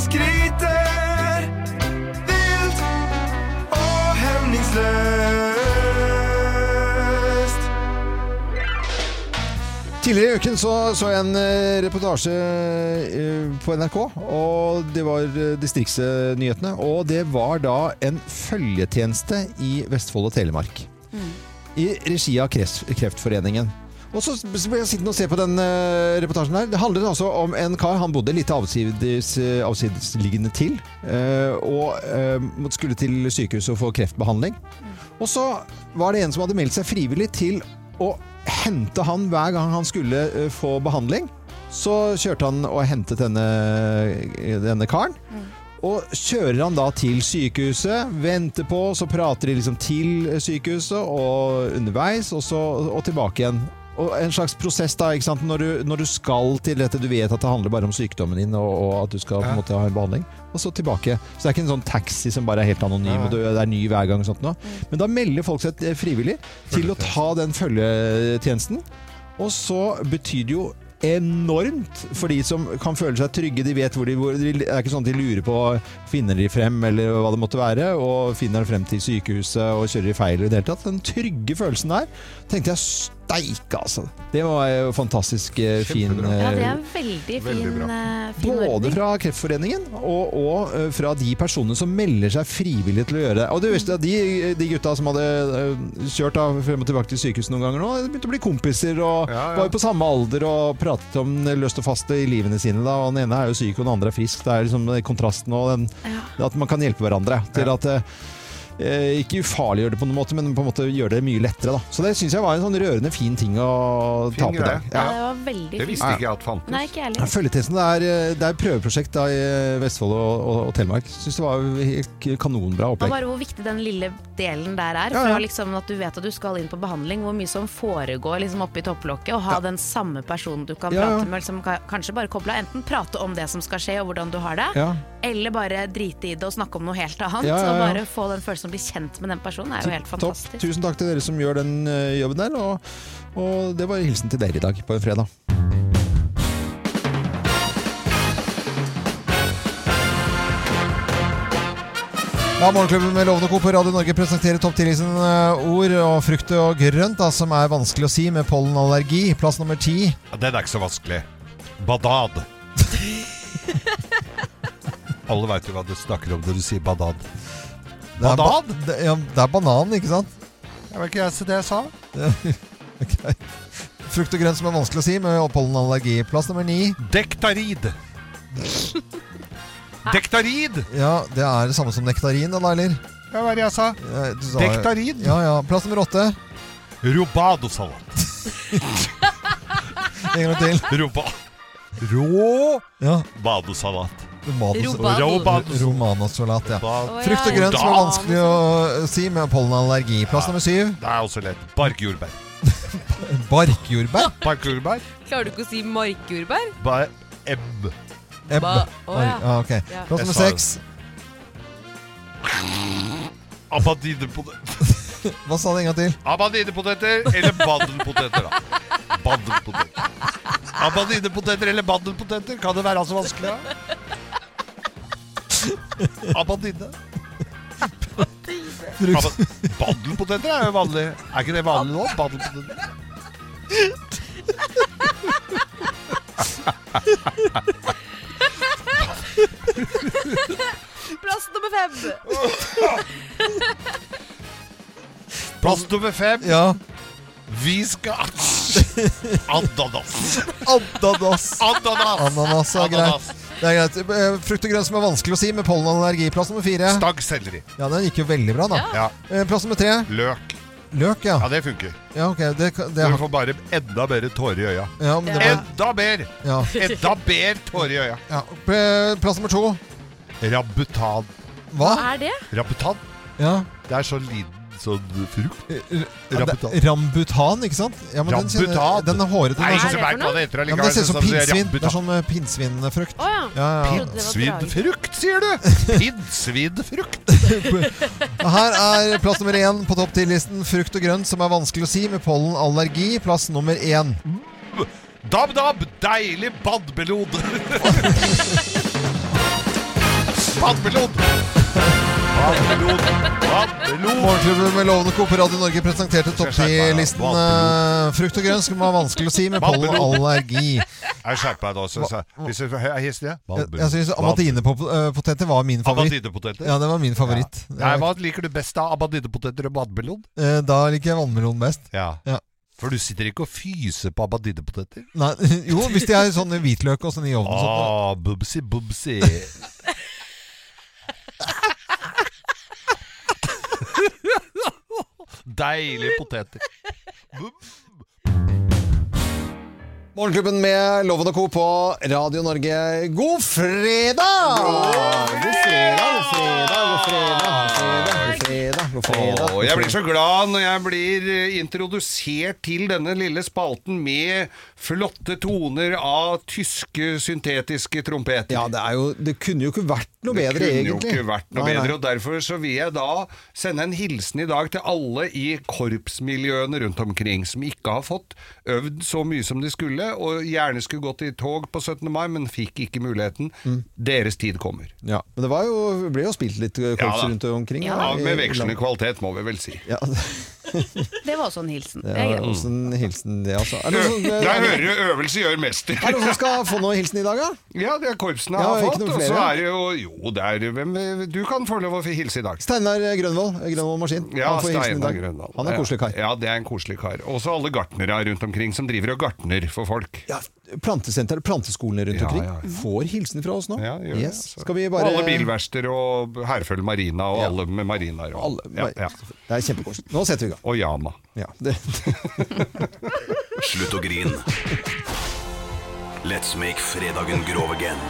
S2: Tidligere i uken så, så jeg en eh, reportasje eh, på NRK, og det var eh, distriktsnyhetene. Og det var da en følgetjeneste i Vestfold og Telemark. I regi av Kreft, Kreftforeningen. Og så ble jeg sittende og se på den eh, reportasjen her. Det handlet altså om en kar. Han bodde litt avsides, eh, avsidesliggende til. eh, og eh, måtte- skulle til sykehuset og få kreftbehandling. Og så var det en som hadde meldt seg frivillig til å hente han hver gang han skulle eh, få behandling. Så kjørte han og hentet denne, eh, denne karen. Og kjører han da til sykehuset, venter på, så prater de liksom til sykehuset og underveis, og, så, og tilbake igjen. Og en slags prosess da, ikke sant? Når du, når du skal til dette, du vet at det handler bare om sykdommen din, og, og at du skal på en måte ha en behandling, og så tilbake. Så det er ikke en sånn taxi som bare er helt anonym,
S12: Nei.
S2: og du, det er ny hver gang og sånt nå. Men da melder folk seg eh, frivillig til å ta den følgetjenesten, og så betyr det jo enormt for de som kan føle seg trygge. De vet hvor de, hvor de Det er ikke sånn at de lurer på finner de frem, eller hva det måtte være, og finner de frem til sykehuset og kjører i feil i det hele tatt. Den trygge følelsen der tenkte jeg steike, altså. Det var jo fantastisk eh, fin eh,
S4: Ja, det er en veldig
S2: Veldig
S4: fin,
S2: bra.
S4: eh, fin
S2: både fra Kreftforeningen og, og eh, fra de personene som melder seg frivillig til å gjøre det. Og du visste at de, de gutta som hadde eh, kjørt da, frem og tilbake til sykehuset noen ganger nå, de begynte å bli kompiser og var jo på samme alder og pratet om løst og fast i livene sine. Da. Og den ene er jo syk, og den andre er frisk. Det er liksom kontrasten og den, at man kan hjelpe hverandre til at eh, Eh, ikke ufarliggjøre det på noen måte, men på en måte gjøre det mye lettere. Da. Så det syns jeg var en sånn rørende fin ting å ta opp i dag.
S4: Ja, det var veldig
S2: Det visste
S4: fint.
S2: ikke jeg at fantes.
S4: Nei, ikke jeg
S2: Ja,
S4: heller.
S2: Følgetjenesten det er, eh, det er et prøveprosjekt da, i eh, Vestfold og, og, og Telemark. Syns det var helt kanonbra
S4: Og
S2: opplegg.
S4: bare hvor viktig den lille delen der er.
S2: Ja, ja.
S4: Fra liksom at du vet at du skal inn på behandling, hvor mye som foregår liksom oppe i topplokket. Og ha den samme personen du kan
S2: Ja, ja.
S4: prate med. Liksom, ka- kanskje bare koble av. Enten prate om det som skal skje og hvordan du har det,
S2: Ja.
S4: eller bare drite i det og snakke om noe helt annet.
S2: Ja, ja,
S4: Og
S2: ja.
S4: bare få den følelsen av å bli kjent med den personen er jo helt
S2: Topp.
S4: fantastisk.
S2: Tusen takk til dere som gjør den eh, jobben der. Og, og det var hilsen til dere i dag på en fredag. Ja, Morgenklubben med Lovende Co. på Radio Norge presenterer topp 10-listen eh, ord og frukt og grønt da, som er vanskelig å si med pollenallergi. Plass nummer ti.
S3: Ja, Den er ikke så vanskelig. Badad. Alle veit jo hva du snakker om når du sier badad.
S2: Det er, ba
S3: Badad?
S2: det, ja, det er bananen, ikke sant?
S3: Det var ikke jeg, det jeg sa.
S2: Ok. Frukt og grønt som er vanskelig å si med pollenallergi. Plass nummer ni.
S3: Dektarid. Dektarid!
S2: Ja, det er det samme som nektarin, da, eller?
S3: Ja, hva er det jeg sa?
S2: Eh, du sa-
S3: Dektarid.
S2: Ja, ja. Plass nummer åtte.
S3: Robadosalat.
S2: En gang til.
S3: Roba. Rå
S2: Ja.
S3: badosalat.
S2: Romanos-
S3: Robado.
S2: Ro- Romanosalat, ja.
S3: Robado.
S2: Frukt og grønt som er vanskelig å si med pollenallergi. Plass nummer syv.
S3: Det er også lett. Barkjordbær.
S2: Barkjordbær.
S3: Barkjordbær.
S13: Klarer du ikke å si markjordbær?
S3: Ba ebb.
S2: Ebb.
S13: Ba- Å,
S2: Oi,
S13: ja.
S2: ja, ok.
S13: Ja.
S2: Plass nummer
S3: Jeg sa-
S2: seks.
S3: Abadinepoteter.
S2: Hva sa du en gang til?
S3: Abadinepoteter eller badenpoteter, da. Badenpoteter. Abadinepoteter eller badenpoteter, kan det være så vanskelig? da? Abadine. Abba- Badenpoteter er jo vanlig. Er ikke det vanlig nå? Badenpoteter.
S13: Plass nummer fem.
S3: Plass nummer fem.
S2: Ja.
S3: Vi skal Ananas.
S2: Ananas.
S3: Ananas.
S2: Ananas er greit.
S3: Ananas.
S2: Det er greit. Eh, Frukt og grønt som er vanskelig å si med pollenallergi. Plass nummer fire.
S3: Staggselleri.
S2: Ja, den gikk jo veldig bra, da.
S3: Ja.
S2: Eh, Plass nummer tre.
S3: Løk.
S2: Løk, ja.
S3: Ja, det funker.
S2: Ja, ok. Det, kan- det
S3: Du
S2: har
S3: får bare enda mer tårer i øya.
S2: Ja, men det var-
S3: Enda mer!
S2: Ja.
S3: Enda mer tårer i øya.
S2: ja. Pl- Plass nummer to.
S3: Rabutan.
S2: Hva?
S4: er det?
S3: Rabutan?
S2: Ja.
S3: Det er sånn liten sånn frukt. Rabutan.
S2: Eh, Det- Rambutan, ikke sant? Ja, men den, kjenner,
S3: Rambutan.
S2: den er hårete.
S3: Nei,
S2: den er
S3: ikke
S2: sånn-
S3: så merk hva det heter
S2: ja, men det ser ut som
S3: allikevel, sånn
S2: pinnsvin.
S3: som
S2: Det er sånn eh, pinnsvinfrukt.
S3: Å, ja. Pinnsvinfrukt, sier du? Pinnsvinfrukt.
S2: Her er plass nummer én på topp 10-listen. Frukt og grønt som er vanskelig å si med pollenallergi. Plass nummer én.
S3: Dab-dab, deilig badmelod. badmelod.
S2: Morgenklubben med Lovende Co. på Radio Norge presenterte topp 10-listen eh, frukt og grønt. Skal man ha vanskelig å si med pollen og allergi.
S3: Jeg skjerper meg da. Så, så. Hvis du er hissig, ja.
S2: Jeg, jeg synes Amatinepoteter var min favoritt.
S3: Abadidepoteter?
S2: Ja, det var min favoritt.
S3: Nei, hva liker du best av abadidepoteter og badmelon?
S2: Eh, Da liker jeg vannmelon best.
S3: Ja.
S2: Ja.
S3: For du sitter ikke og fyser på abadidepoteter?
S2: Nei, jo, hvis de er sånn hvitløk og sånn i ovnen. Sånn.
S3: Ah, bubsi, bubsi. Deilige poteter.
S2: Morgenklubben med Loven og Co. på Radio Norge. God fredag! God fredag, god fredag, god fredag, god fredag, god fredag, god fredag.
S3: Og jeg blir så glad når jeg blir eh, introdusert til denne lille spalten med flotte toner av tyske syntetiske trompeter.
S2: Ja, det, er jo, det kunne jo ikke vært noe bedre, egentlig.
S3: Det kunne jo ikke vært noe
S2: Nei, nei.
S3: bedre, og derfor så vil jeg da sende en hilsen i dag til alle i korpsmiljøene rundt omkring, som ikke har fått øvd så mye som de skulle, og gjerne skulle gått i tog på 17. mai, men fikk ikke muligheten.
S2: Mm.
S3: Deres tid kommer.
S2: Ja, men det var jo, ble jo spilt litt korps
S3: Ja, da.
S2: rundt omkring.
S3: Ja,
S2: da, i-
S3: med
S2: i
S3: vekslende
S2: landet.
S3: kvalitet, må vi vel si.
S2: Ja,
S4: Det var også en hilsen.
S2: det
S4: Det er
S2: er
S4: greit.
S2: også en hilsen, det, altså. Er det noen som-
S3: Der hører du øvelse gjør mester.
S2: er det noen som skal få noe hilsen i dag, da?
S3: Ja, det er korpsene
S2: Ja,
S3: har
S2: ikke
S3: fått,
S2: noen
S3: og så
S2: flere?
S3: er det jo Jo, det er hvem Du kan få lov å få hilse i dag.
S2: Steinar Grønvoll, Grønvoll Maskin.
S3: Ja,
S2: han får hilsen i
S3: Steinar
S2: dag.
S3: Grøndal.
S2: Han er
S3: Ja.
S2: koselig kar.
S3: Ja, det er en koselig kar. Også alle gartnere rundt omkring som driver og gartner for folk.
S2: Ja, plantesenter, planteskolene rundt
S3: Ja,
S2: omkring
S3: ja, ja.
S2: får hilsen fra oss nå.
S3: Ja, gjør det,
S2: yes.
S3: altså.
S2: Skal vi
S3: Og
S2: bare
S3: alle bilverksteder og Herføl Marina og alle med marinaer. og-
S2: Alle-
S3: ja, ja.
S2: Det er kjempekoselig. Nå setter vi i gang.
S3: Og Yama.
S2: Ja, det,
S12: Slutt å grin. Let's make fredagen grov again.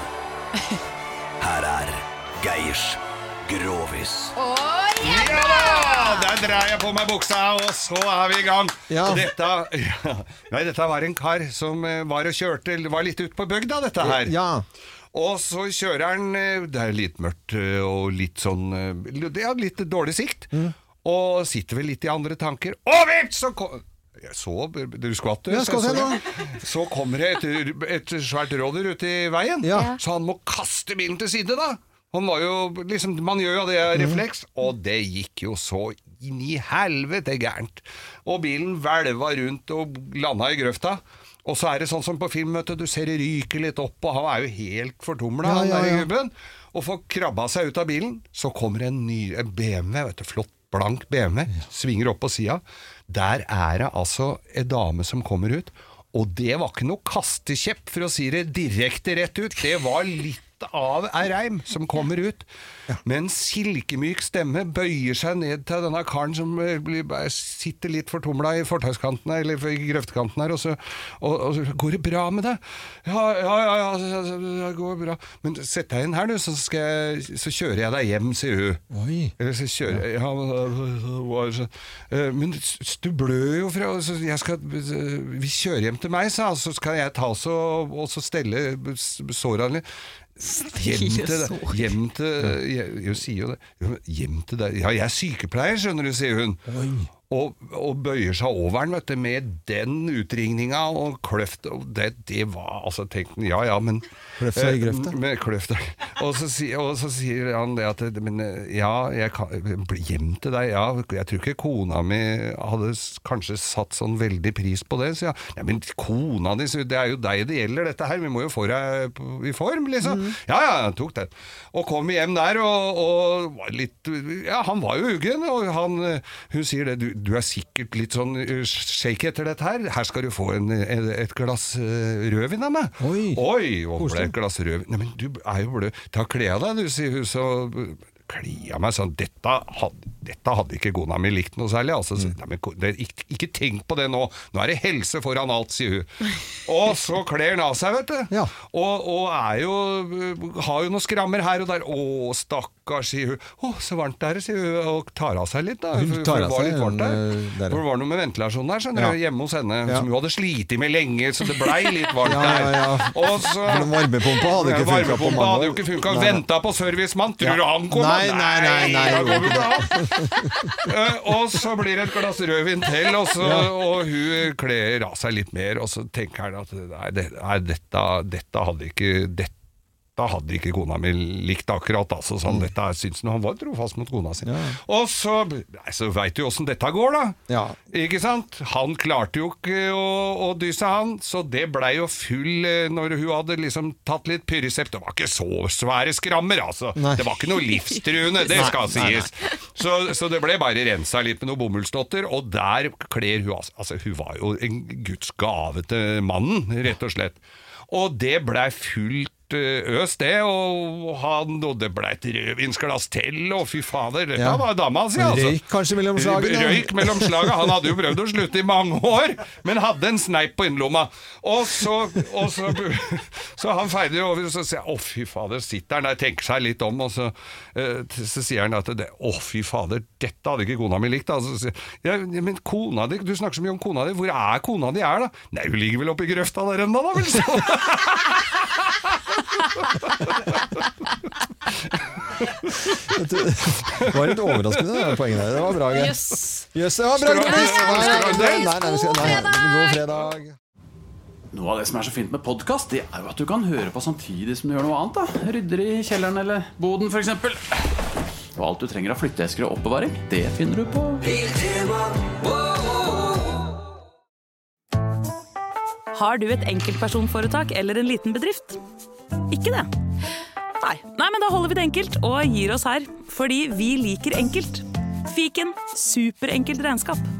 S12: Her er Geirs Grovis.
S3: Ja! Der drar jeg på meg buksa, og så er vi i gang.
S12: Ja.
S3: Dette, ja. Nei, dette var en kar som eh, var og kjørte Var litt ute på bygda, dette her.
S2: Ja.
S3: Og så kjører han eh, Det er litt mørkt eh, og litt sånn eh, Ja, litt dårlig sikt. Og sitter vel litt i andre tanker. Og vips, så kom jeg så, Du skvatt, du.
S2: Ja, skvatt
S3: så,
S2: jeg nå.
S3: så kommer det et, et svært rådyr ut i veien, så han må kaste bilen til side, da. Han var jo, liksom, man gjør jo det
S2: Mhm.
S3: av refleks, og det gikk jo så inn i helvete gærent. Og bilen hvelva rundt og landa i grøfta. Og så er det sånn som på film, vet du, du ser det ryker litt opp, og han er jo helt fortumla,
S2: Ja,
S3: han
S2: ja,
S3: der
S2: ja.
S3: gubben. Og får krabba seg ut av bilen, så kommer en ny en BMW, vet du, flott blank BMW, svinger opp på sida. Der er det altså ei dame som kommer ut, og det var ikke noe kastekjepp, for å si det direkte rett ut. Det var litt av ei reim som kommer ut. Med en silkemyk stemme bøyer seg ned til denne karen som eh, blir, sitter litt fortumla i fortauskanten her, eller i grøftekanten her, og så, og, og så 'Går det bra med deg?' 'Ja, ja, ja, ja, ja, ja, det går bra.' 'Men sett deg inn her, du, så, skal jeg, så kjører jeg deg hjem', sier hun.
S2: Oi.
S3: Eller Eh, så kjører jeg ja, men, øh, øh, var så- øh, Men s- du blør jo fra så jeg skal, øh, Vi kjører hjem til meg, sa han, så skal jeg ta oss og, og så stelle s- sårene litt. Hjem til deg. Hjem til jeg, jeg sier jo det. Jo, men Hjem til deg. Ja, jeg er sykepleier, skjønner du, sier hun. Og, og bøyer seg over den, vet du, med den utringninga og kløft. Og det, det var altså Tenk, ja ja, men
S2: Kløfta i grøfta.
S3: Eh, med kløfta. Og så, si, og så sier han det at men, eh, Ja, jeg kan, bli hjem til deg. Ja, jeg tror ikke kona mi hadde s- kanskje satt sånn veldig pris på det. Så ja, ja men kona di, så det er jo deg det gjelder, dette her. Vi må jo få deg p- i form, liksom. Ja, ja, han tok den. Og kom hjem der og, og var litt Ja, han var jo uggen, og han, eh, hun sier det. Du, du er sikkert litt sånn eh, shake etter dette her. Her skal du få en, en, et glass eh, rødvin av meg.
S2: Oi.
S3: Oi, og ble
S2: Koselig.
S3: et glass rødvin. Nei, men du er jo blød. Ta kle av deg, du, sier hun. Så kle av meg sånn. Dette hadde, dette hadde ikke kona mi likt noe særlig. Altså,
S2: Mm.
S3: så, nei, men, ko- det, ikke, ikke tenk på det nå. Nå er det helse foran alt, sier hun. Og så kler han av seg, vet du. Og, og er jo, har jo noen skrammer her og der. Å, stakkars, sier hun. Å, så varmt det er, sier hun. Og tar av seg litt, da.
S2: Hun
S3: for- for
S2: tar
S3: det
S2: av
S3: var
S2: seg
S3: litt varmt
S2: den, eh, der,
S3: der. For det var noe med ventilasjonen der, skjønner
S2: Ja.
S3: du. Hjemme hos henne,
S2: Ja.
S3: som hun hadde slitt med lenge, så det blei litt varmt
S2: Ja, ja, ja.
S3: der. Og så
S2: For den varmepumpa hadde ikke funket på
S3: Varmepumpa
S2: mange
S3: hadde
S2: år.
S3: jo ikke funka.
S2: Nei, nei.
S3: Venta på servicemann. Tror du
S2: Ja.
S3: han kom?
S2: Nei, nei, nei, nei,
S3: da
S2: det
S3: går vi bra. Eh, Og så blir det et glass rødvin til, og, så, og hun kler av seg litt mer, og så tenker han at nei, det, nei dette, dette hadde ikke dette Da hadde ikke kona mi likt akkurat, altså.
S2: Mm.
S3: Så han, dette her syns han Han var trofast mot kona si. Og så, nei, så veit du åssen dette går, da. Ikke sant? Han klarte jo ikke å, å dysse, han, så det blei jo full eh, når hun hadde liksom tatt litt Pyresept. Det var ikke så svære skrammer, altså.
S2: Nei.
S3: Det var ikke noe livstruende, det
S2: Nei,
S3: skal
S2: nei, nei.
S3: sies. Så, så det ble bare rensa litt med noen bomullsdotter, og der kler hun altså, altså Hun var jo en guds gave til mannen, rett og slett. Og det blei fullt eh, øs, det, og, han, og det blei et rødvinsglass til, og fy fader, dette
S2: Ja.
S3: var dama si,
S2: Men
S3: altså.
S2: røyk kanskje mellom slagene?
S3: Røyk mellom slagene. Han hadde jo prøvd å slutte i mange år, men hadde en sneip på innerlomma. Og så, og så, så han feide jo over, og så sier jeg 'Å, fy fader', sitter han der, tenker seg litt om, og så, eh, så sier han at det, 'Å, fy fader, dette hadde ikke kona mi likt'. Altså, så sier jeg, ja, 'Men kona di, du snakker så mye om kona di, hvor er kona di er, da?' 'Nei, hun ligger vel oppe i grøfta der ennå, da, vel', så.
S2: Det var litt overraskende, det der poenget der. Det var bra. Geir. Jøss,
S1: Yes.
S2: det var bra.
S1: Skal du ha-
S2: Geir.
S1: Skal du ha-
S2: Nei,
S1: skal du
S2: nei,
S1: ha-
S2: nei, nei, vi skal- nei, nei. God fredag.
S9: Noe av det som er så fint med podkast, det er jo at du kan høre på samtidig som du gjør noe annet. da Rydder i kjelleren eller boden, f.eks. Og alt du trenger av flytteesker og oppbevaring, det finner du på
S1: Har du et enkeltpersonforetak eller en liten bedrift? Ikke det? Nei. Nei, men da holder vi det enkelt og gir oss her. Fordi vi liker enkelt. Fiken superenkelt regnskap.